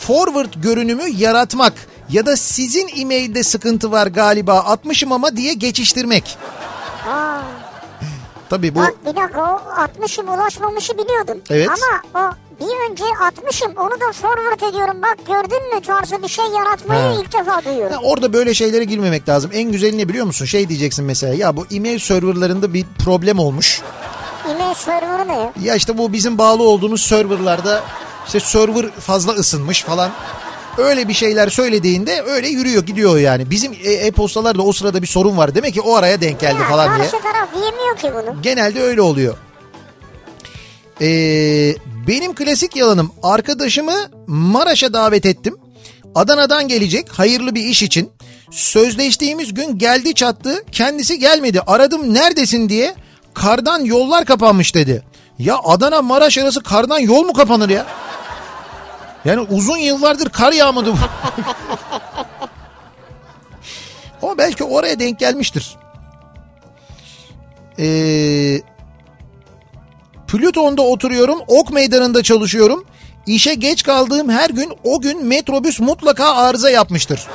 Speaker 2: forward görünümü yaratmak ya da sizin e-mailde sıkıntı var galiba atmışım ama diye geçiştirmek.
Speaker 1: Aa,
Speaker 2: Tabii bu
Speaker 1: bak bir dakika o 60'ım ulaşmamışı biliyordum.
Speaker 2: Evet.
Speaker 1: Ama o bir önce 60'ım onu da forward ediyorum. Bak gördün mü tarzı bir şey yaratmayı
Speaker 2: He.
Speaker 1: ilk defa duyuyorum.
Speaker 2: Ya orada böyle şeylere girmemek lazım. En güzeli ne biliyor musun? Şey diyeceksin mesela ya bu e-mail serverlarında bir problem olmuş.
Speaker 1: E-mail serverı ne ya?
Speaker 2: Ya işte bu bizim bağlı olduğumuz serverlarda işte server fazla ısınmış falan. Öyle bir şeyler söylediğinde öyle yürüyor gidiyor yani. Bizim e- e-postalarla o sırada bir sorun var. Demek ki o araya denk geldi
Speaker 1: Ya
Speaker 2: falan diye.
Speaker 1: Karşı taraf yemiyor ki bunu.
Speaker 2: Genelde öyle oluyor. Ee, benim klasik yalanım arkadaşımı Maraş'a davet ettim. Adana'dan gelecek hayırlı bir iş için. Sözleştiğimiz gün geldi çattı kendisi gelmedi aradım neredesin diye kardan yollar kapanmış dedi. Ya Adana Maraş arası kardan yol mu kapanır ya? Yani uzun yıllardır kar yağmadı bu. Ama belki oraya denk gelmiştir. Ee, Plüton'da oturuyorum, Ok Meydanı'nda çalışıyorum. İşe geç kaldığım her gün o gün metrobüs mutlaka arıza yapmıştır.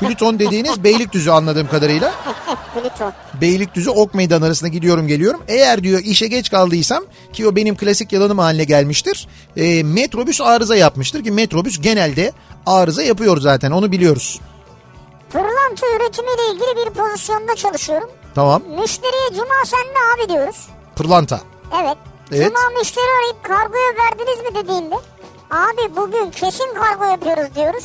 Speaker 2: Plüton dediğiniz Beylikdüzü anladığım kadarıyla.
Speaker 1: Plüton.
Speaker 2: Beylikdüzü Ok Meydan arasında gidiyorum geliyorum. Eğer diyor işe geç kaldıysam ki o benim klasik yalanım haline gelmiştir. E, metrobüs arıza yapmıştır ki metrobüs genelde arıza yapıyor zaten onu biliyoruz.
Speaker 1: Pırlanta üretimiyle ilgili bir pozisyonda çalışıyorum.
Speaker 2: Tamam
Speaker 1: Müşteriye cuma sende abi diyoruz.
Speaker 2: pırlanta.
Speaker 1: Evet.
Speaker 2: Evet.
Speaker 1: Cuma müşteri arayıp kargoya verdiniz mi dediğinde abi bugün kesin kargo yapıyoruz diyoruz.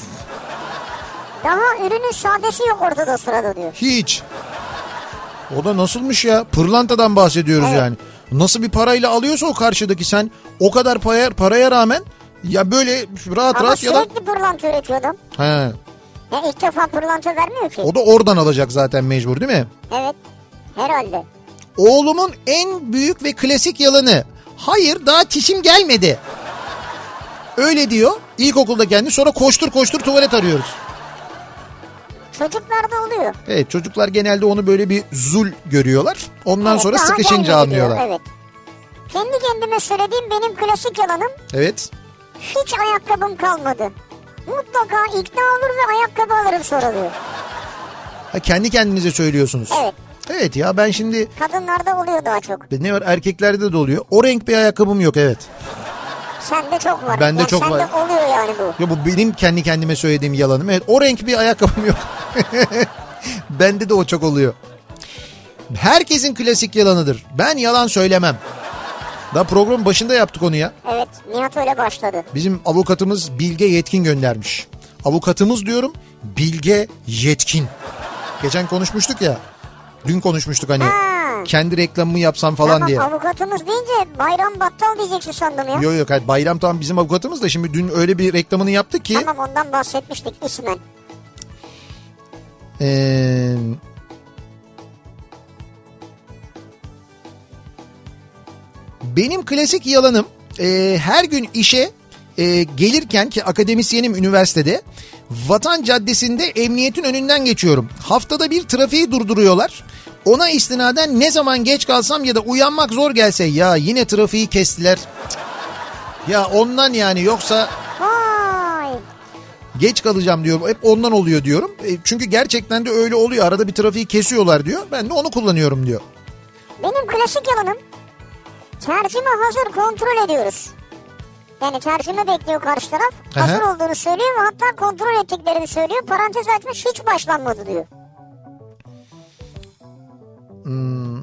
Speaker 1: Daha ürünün sadesi yok ortada sırada diyor.
Speaker 2: Hiç. O da nasılmış ya? Pırlantadan bahsediyoruz
Speaker 1: Evet.
Speaker 2: yani. Nasıl bir parayla alıyorsa o karşıdaki sen o kadar paraya, paraya rağmen ya böyle rahat
Speaker 1: Ama
Speaker 2: rahat yalan.
Speaker 1: sürekli pırlanta üretiyor adam.
Speaker 2: He.
Speaker 1: Ya ilk defa pırlanta vermiyor ki.
Speaker 2: O da oradan alacak zaten mecbur değil mi?
Speaker 1: Evet. Herhalde.
Speaker 2: Oğlumun en büyük ve klasik yalanı. Hayır daha çişim gelmedi. Öyle diyor. İlkokulda kendi sonra koştur koştur tuvalet arıyoruz.
Speaker 1: Çocuklarda oluyor.
Speaker 2: Evet çocuklar genelde onu böyle bir zul görüyorlar. Ondan
Speaker 1: Evet,
Speaker 2: sonra
Speaker 1: daha gelmedi
Speaker 2: sıkışınca
Speaker 1: diyor,
Speaker 2: anlıyorlar. Evet.
Speaker 1: Evet. Kendi kendime söylediğim benim klasik yalanım hiç ayakkabım kalmadı. Mutlaka ikna olur ve ayakkabı alırım sonra diyor.
Speaker 2: Ha, kendi kendinize söylüyorsunuz.
Speaker 1: Evet.
Speaker 2: Evet ya ben şimdi
Speaker 1: Kadınlarda oluyor daha çok.
Speaker 2: ne var erkeklerde de oluyor. O renk bir ayakkabım yok evet.
Speaker 1: Sende çok var.
Speaker 2: Bende
Speaker 1: Yani
Speaker 2: çok
Speaker 1: sende
Speaker 2: var.
Speaker 1: oluyor yani bu.
Speaker 2: Ya bu benim kendi kendime söylediğim yalanım. Evet o renk bir ayakkabım yok. Bende de o çok oluyor. Herkesin klasik yalanıdır. Ben yalan söylemem. Daha programın başında yaptık onu ya.
Speaker 1: Evet Nihat öyle başladı.
Speaker 2: Bizim avukatımız Bilge Yetkin göndermiş. Avukatımız diyorum Bilge Yetkin. Geçen konuşmuştuk ya. Dün konuşmuştuk hani.
Speaker 1: Ha.
Speaker 2: Kendi reklamımı yapsam falan
Speaker 1: Tamam
Speaker 2: diye.
Speaker 1: avukatımız deyince bayram battal diyeceksin sandım ya.
Speaker 2: Yok yok hayır, Bayram tam bizim avukatımız da şimdi dün öyle bir reklamını yaptı ki.
Speaker 1: Tamam ondan bahsetmiştik ismen.
Speaker 2: Ee, benim klasik yalanım ee, her gün işe ee, gelirken ki akademisyenim üniversitede Vatan Caddesi'nde emniyetin önünden geçiyorum. Haftada bir trafiği durduruyorlar. Ona istinaden ne zaman geç kalsam ya da uyanmak zor gelse ya yine trafiği kestiler. Cık. Ya ondan yani yoksa
Speaker 1: Vay.
Speaker 2: geç kalacağım diyorum. Hep ondan oluyor diyorum. E, çünkü gerçekten de öyle oluyor. Arada bir trafiği kesiyorlar diyor. Ben de onu kullanıyorum diyor.
Speaker 1: Benim klasik yalanım tercüme hazır kontrol ediyoruz. Yani tercüme bekliyor karşı taraf.
Speaker 2: Aha.
Speaker 1: Hazır olduğunu söylüyor ve hatta kontrol ettiklerini söylüyor. Parantez açmış hiç başlanmadı diyor.
Speaker 2: Hmm.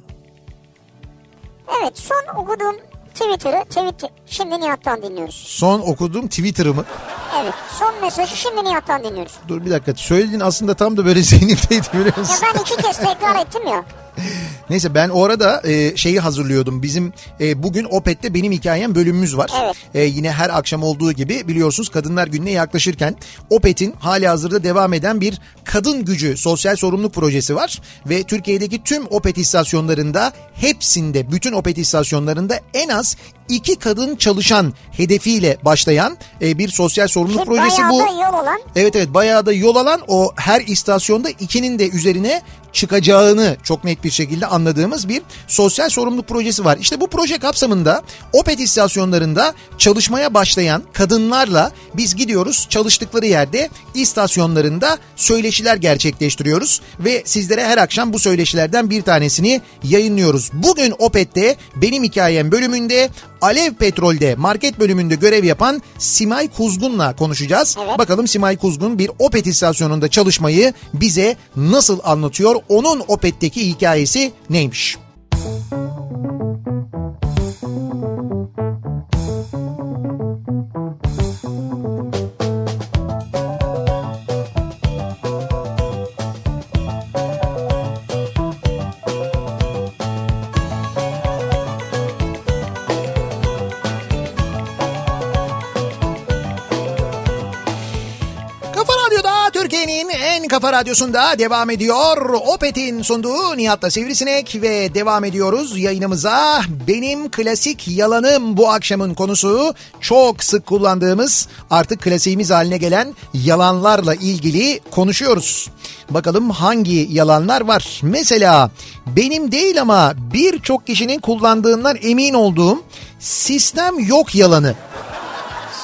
Speaker 1: Evet son okuduğum Twitter'ı tweet, şimdi Nihat'tan dinliyoruz.
Speaker 2: Son okuduğum Twitter'ımı.
Speaker 1: Evet son mesajı şimdi Nihat'tan dinliyoruz.
Speaker 2: Dur bir dakika. Söylediğin aslında tam da böyle zihnimdeydi biliyor
Speaker 1: Ya
Speaker 2: musun?
Speaker 1: ben iki kez tekrar ettim ya.
Speaker 2: Neyse ben o arada e, şeyi hazırlıyordum. Bizim e, bugün Opet'te benim hikayem bölümümüz var.
Speaker 1: Evet.
Speaker 2: E, yine her akşam olduğu gibi biliyorsunuz Kadınlar Günü'ne yaklaşırken Opet'in hali hazırda devam eden bir kadın gücü sosyal sorumluluk projesi var. Ve Türkiye'deki tüm Opet istasyonlarında hepsinde bütün Opet istasyonlarında en az iki kadın çalışan hedefiyle başlayan e, bir sosyal sorumluluk
Speaker 1: Ki
Speaker 2: projesi
Speaker 1: Şey, bayağı
Speaker 2: bu.
Speaker 1: da yol olan
Speaker 2: Evet evet bayağı da yol alan o her istasyonda ikinin de üzerine çıkacağını çok net bir şekilde anladığımız bir sosyal sorumluluk projesi var. İşte bu proje kapsamında Opet istasyonlarında çalışmaya başlayan kadınlarla biz gidiyoruz çalıştıkları yerde istasyonlarında söyleşiler gerçekleştiriyoruz ve sizlere her akşam bu söyleşilerden bir tanesini yayınlıyoruz. Bugün Opet'te benim hikayem bölümünde Alev Petrol'de market bölümünde görev yapan Simay Kuzgun'la konuşacağız.
Speaker 1: Evet.
Speaker 2: Bakalım Simay Kuzgun bir Opet istasyonunda çalışmayı bize nasıl anlatıyor? Onun Opet'teki hikayesi neymiş? Kafa Radyo'da Türkiye'nin en kafa radyosunda devam ediyor. Opet'in sunduğu Nihat'la Sivrisinek ve devam ediyoruz yayınımıza. Benim klasik yalanım bu akşamın konusu çok sık kullandığımız artık klasiğimiz haline gelen yalanlarla ilgili konuşuyoruz. Bakalım hangi yalanlar var? Mesela benim değil ama birçok kişinin kullandığından emin olduğum sistem yok yalanı.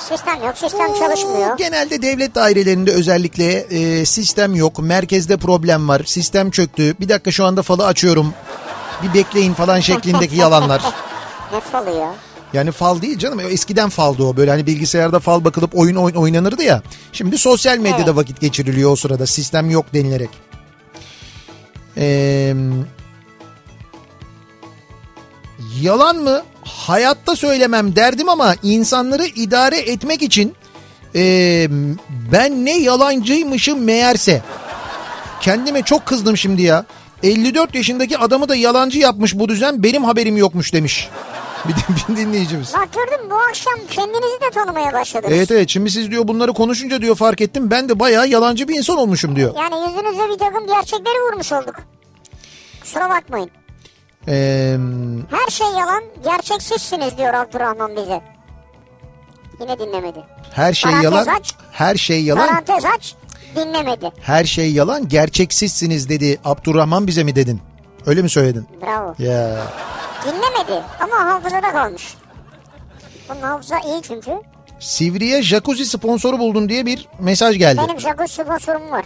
Speaker 1: sistem yok sistem çalışmıyor.
Speaker 2: Genelde devlet dairelerinde özellikle e, sistem yok. Merkezde problem var. Sistem çöktü. Bir dakika şu anda falı açıyorum. Bir bekleyin falan şeklindeki yalanlar.
Speaker 1: Ne falı ya?
Speaker 2: Yani fal değil canım. Eskiden faldı o. Böyle hani bilgisayarda fal bakılıp oyun oyn- oynanırdı ya. Şimdi sosyal medyada
Speaker 1: Evet.
Speaker 2: vakit geçiriliyor o sırada. Sistem yok denilerek. Ee, yalan mı? Hayatta söylemem derdim ama insanları idare etmek için ee, ben ne yalancıymışım meğerse. Kendime çok kızdım şimdi ya. 54 yaşındaki adamı da yalancı yapmış bu düzen benim haberim yokmuş demiş. Bir, din- bir dinleyicimiz.
Speaker 1: Bak gördün mü? bu akşam kendinizi de tanımaya başladınız.
Speaker 2: Evet evet şimdi siz diyor bunları konuşunca diyor fark ettim ben de bayağı yalancı bir insan olmuşum diyor.
Speaker 1: Yani yüzünüze bir takım gerçekleri vurmuş olduk. Kusura bakmayın.
Speaker 2: Ee,
Speaker 1: Her şey yalan, gerçeksizsiniz diyor Abdurrahman bize. Yine dinlemedi.
Speaker 2: her şey
Speaker 1: Parantez
Speaker 2: yalan.
Speaker 1: aç.
Speaker 2: Her şey yalan.
Speaker 1: Parantez aç, dinlemedi.
Speaker 2: Her şey yalan. Gerçeksizsiniz dedi. Abdurrahman bize mi dedin? Öyle mi söyledin?
Speaker 1: Bravo.
Speaker 2: Ya.
Speaker 1: Dinlemedi ama hafızada kalmış. Bunun hafıza iyi çünkü.
Speaker 2: Sivri'ye jacuzzi sponsoru buldum diye bir mesaj geldi.
Speaker 1: Benim jacuzzi sponsorum var.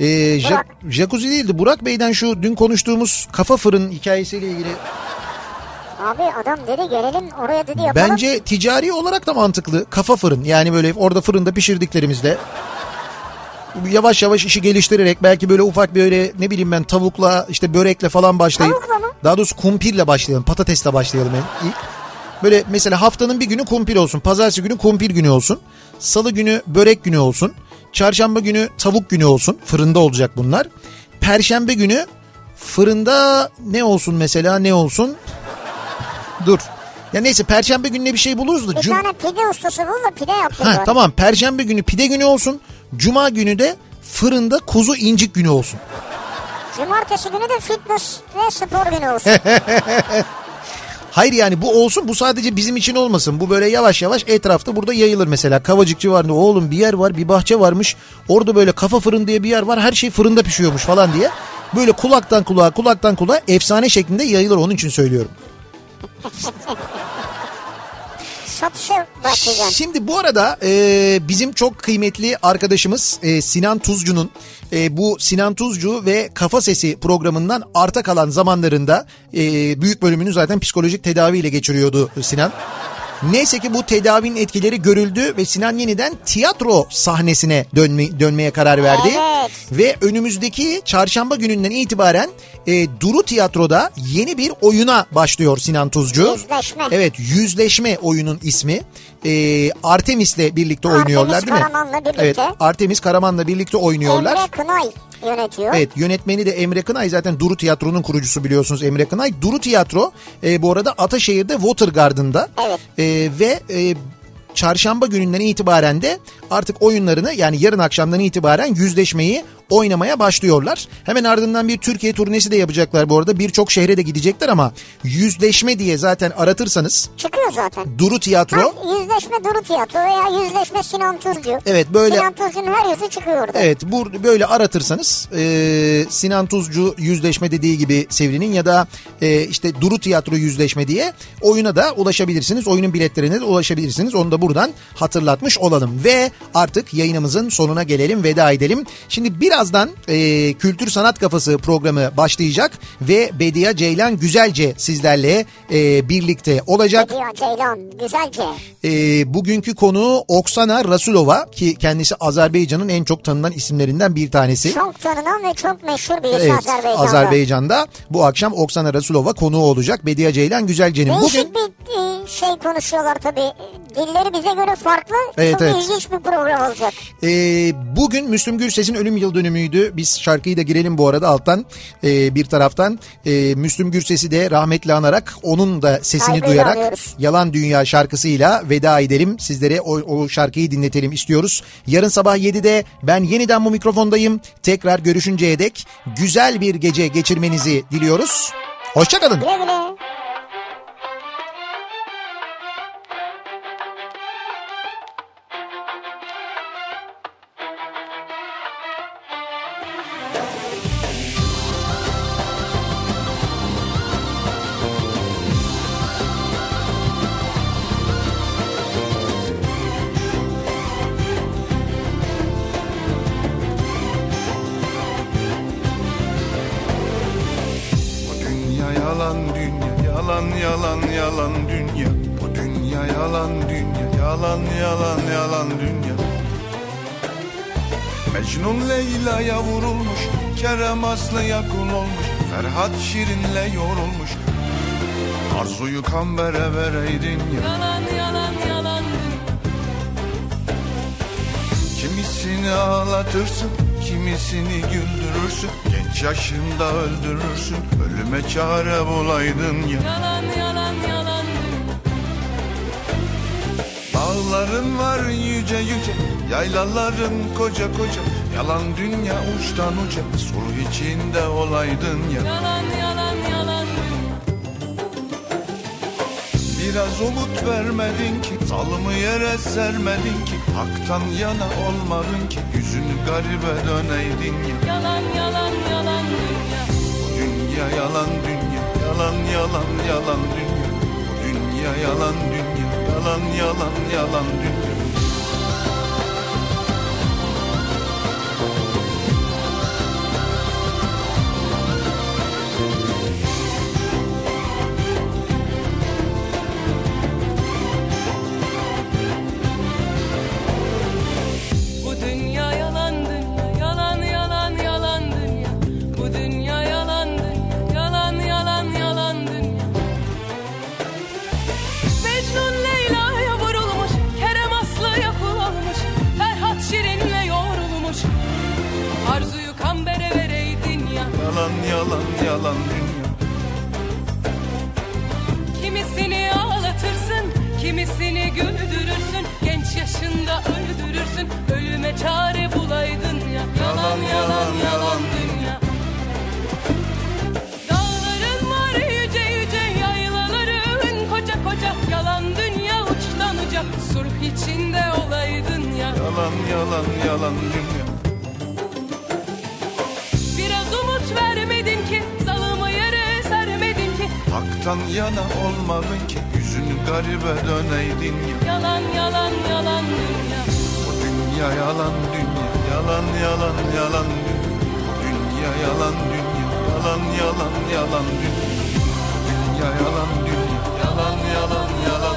Speaker 2: Ee, ja-
Speaker 1: şey Burak.
Speaker 2: jacuzzi değildi. Burak Bey'den şu dün konuştuğumuz kafa fırın hikayesiyle ilgili.
Speaker 1: Abi adam dedi gelelim oraya dedi yapalım.
Speaker 2: Bence ticari olarak da mantıklı. Kafa fırın. Yani böyle orada fırında pişirdiklerimizle yavaş yavaş işi geliştirerek belki böyle ufak böyle ne bileyim ben tavukla işte börekle falan başlayıp
Speaker 1: Tavukla mı?
Speaker 2: daha doğrusu kumpirle başlayalım patatesle başlayalım en- ilk. Böyle mesela haftanın bir günü kumpir olsun pazartesi günü kumpir günü olsun salı günü börek günü olsun çarşamba günü tavuk günü olsun fırında olacak bunlar perşembe günü fırında ne olsun mesela ne olsun dur ya neyse perşembe gününe bir şey buluruz da
Speaker 1: Bir
Speaker 2: Cum-
Speaker 1: tane şey pide ustası bul da pide yaptır.
Speaker 2: Ha,
Speaker 1: bari.
Speaker 2: tamam perşembe günü pide günü olsun. Cuma günü de fırında kuzu incik günü olsun.
Speaker 1: Cumartesi günü de fitness ve spor günü olsun.
Speaker 2: Hayır yani bu olsun bu sadece bizim için olmasın. Bu böyle yavaş yavaş etrafta burada yayılır mesela. Kavacıkçı vardı oğlum bir yer var bir bahçe varmış. Orada böyle kafa fırın diye bir yer var her şey fırında pişiyormuş falan diye. Böyle kulaktan kulağa kulaktan kulağa efsane şeklinde yayılır onun için söylüyorum.
Speaker 1: Satışa başlayacaksın.
Speaker 2: Şimdi bu arada e, bizim çok kıymetli arkadaşımız e, Sinan Tuzcu'nun e, bu Sinan Tuzcu ve Kafa Sesi programından arta kalan zamanlarında e, büyük bölümünü zaten psikolojik tedaviyle geçiriyordu Sinan. Neyse ki bu tedavinin etkileri görüldü ve Sinan yeniden tiyatro sahnesine dönme, dönmeye karar verdi.
Speaker 1: Evet.
Speaker 2: Ve önümüzdeki çarşamba gününden itibaren e, Duru Tiyatro'da yeni bir oyuna başlıyor Sinan Tuzcu.
Speaker 1: Yüzleşme.
Speaker 2: Evet Yüzleşme oyunun ismi. E, Artemis'le birlikte
Speaker 1: Artemis
Speaker 2: oynuyorlar değil mi?
Speaker 1: Karaman'la birlikte.
Speaker 2: Evet Artemis Karaman'la birlikte oynuyorlar.
Speaker 1: Emre Kınay yönetiyor.
Speaker 2: Evet yönetmeni de Emre Kınay zaten Duru Tiyatro'nun kurucusu biliyorsunuz Emre Kınay. Duru Tiyatro e, bu arada Ataşehir'de Water Garden'da
Speaker 1: Evet.
Speaker 2: E, ve e, çarşamba gününden itibaren de artık oyunlarını yani yarın akşamdan itibaren yüzleşmeyi oynamaya başlıyorlar. Hemen ardından bir Türkiye turnesi de yapacaklar bu arada birçok şehre de gidecekler ama yüzleşme diye zaten aratırsanız
Speaker 1: Çıkıyor zaten.
Speaker 2: Duru Tiyatro...
Speaker 1: Ha, yüzleşme Duru Tiyatro veya Yüzleşme Sinan Tuzcu.
Speaker 2: Evet, böyle-
Speaker 1: Sinan Tuzcu'nun her yüzü çıkıyor orada.
Speaker 2: Evet bu böyle aratırsanız e, Sinan Tuzcu yüzleşme dediği gibi Sevri'nin ya da e, işte Duru Tiyatro yüzleşme diye oyuna da ulaşabilirsiniz. Oyunun biletlerine de ulaşabilirsiniz. Onu da buradan hatırlatmış olalım. Ve artık yayınımızın sonuna gelelim veda edelim. Şimdi birazdan e, Kültür Sanat Kafası programı başlayacak ve Bedia Ceylan Güzelce sizlerle e, birlikte olacak.
Speaker 1: Diyor Ceylan güzelce.
Speaker 2: E, bugünkü konu Oksana Rasulova ki kendisi Azerbaycan'ın en çok tanınan isimlerinden bir tanesi.
Speaker 1: Çok tanınan ve çok meşhur birisi
Speaker 2: Evet,
Speaker 1: Azerbaycan'da.
Speaker 2: Azerbaycan'da bu akşam Oksana Rasulova konuğu olacak. Bediye Ceylan Güzelce'nin. Bugün
Speaker 1: Değişik bir e, şey konuşuyorlar tabii. Dilleri bize göre farklı.
Speaker 2: Evet,
Speaker 1: Çok
Speaker 2: evet.
Speaker 1: ilginç bir program olacak.
Speaker 2: e, bugün Müslüm Gürses'in ölüm yıl dönümüydü. Biz şarkıyı da girelim bu arada alttan e, bir taraftan. E, Müslüm Gürses'i de rahmetli anarak onun da sesini
Speaker 1: Saygıyla
Speaker 2: duyarak
Speaker 1: anıyoruz.
Speaker 2: Yalan Dünya şarkısıyla veda edelim. Sizlere o, o şarkıyı dinletelim istiyoruz. Yarın sabah 7'de ben yeniden bu mikrofondayım. Tekrar görüşünceye dek güzel bir gece geçirmenizi diliyoruz. Hoşçakalın.
Speaker 1: Güle güle.
Speaker 4: Bu dünya yalan dünya yalan yalan yalan dünya Bu dünya yalan dünya yalan yalan yalan dünya Mecnun Leyla'ya vurulmuş Kerem Aslı'ya kul olmuş Ferhat Şirin'le yorulmuş Arzuyu kambere vereydin ya
Speaker 5: Yalan yalan yalan
Speaker 4: Kimisini ağlatırsın, kimisini güldürürsün Genç yaşında öldürürsün, ölüme çare bulaydın ya
Speaker 5: yalan yalan yalan
Speaker 4: Dağların var yüce yüce, yaylaların koca koca Yalan dünya uçtan uca, sulh içinde olaydın ya
Speaker 5: yalan yalan yalan
Speaker 4: Biraz umut vermedin ki Salımı yere sermedin ki Haktan yana olmadın ki Yüzünü garibe döneydin ya
Speaker 5: yalan yalan yalan dünya
Speaker 4: Bu dünya yalan dünya Yalan yalan yalan dünya Bu dünya yalan dünya Yalan yalan yalan dünya
Speaker 5: bu dünya yalan dünya yalan yalan yalan dünya bu dünya yalan dünya yalan yalan yalan dünya Mecnun Leyla'ya vurulmuş Kerem Aslı'ya kul olmuş Ferhat Şirin'le yoğrulmuş Arzuyu kambere vereydin ya
Speaker 4: Yalan yalan yalan dünya
Speaker 5: Kimisini ağlatırsın, kimisini güldürürsün. Genç yaşında öldürürsün, ölüme çare bulaydın ya. Yalan yalan yalan dünya. Dağların var yüce yüce, yaylaların koca koca. Yalan dünya uçtan uca, sulh içinde olaydın ya.
Speaker 4: Yalan yalan yalan dünya
Speaker 5: Biraz umut vermedin ki, salımı yere sermedin ki.
Speaker 4: Haktan yana olmadın ki Yüzünü garibe döneydin ya
Speaker 5: Yalan yalan yalan dünya.
Speaker 4: Bu dünya yalan dünya Yalan yalan yalan dünya Bu dünya yalan dünya Yalan yalan yalan dünya Bu dünya yalan dünya Yalan yalan yalan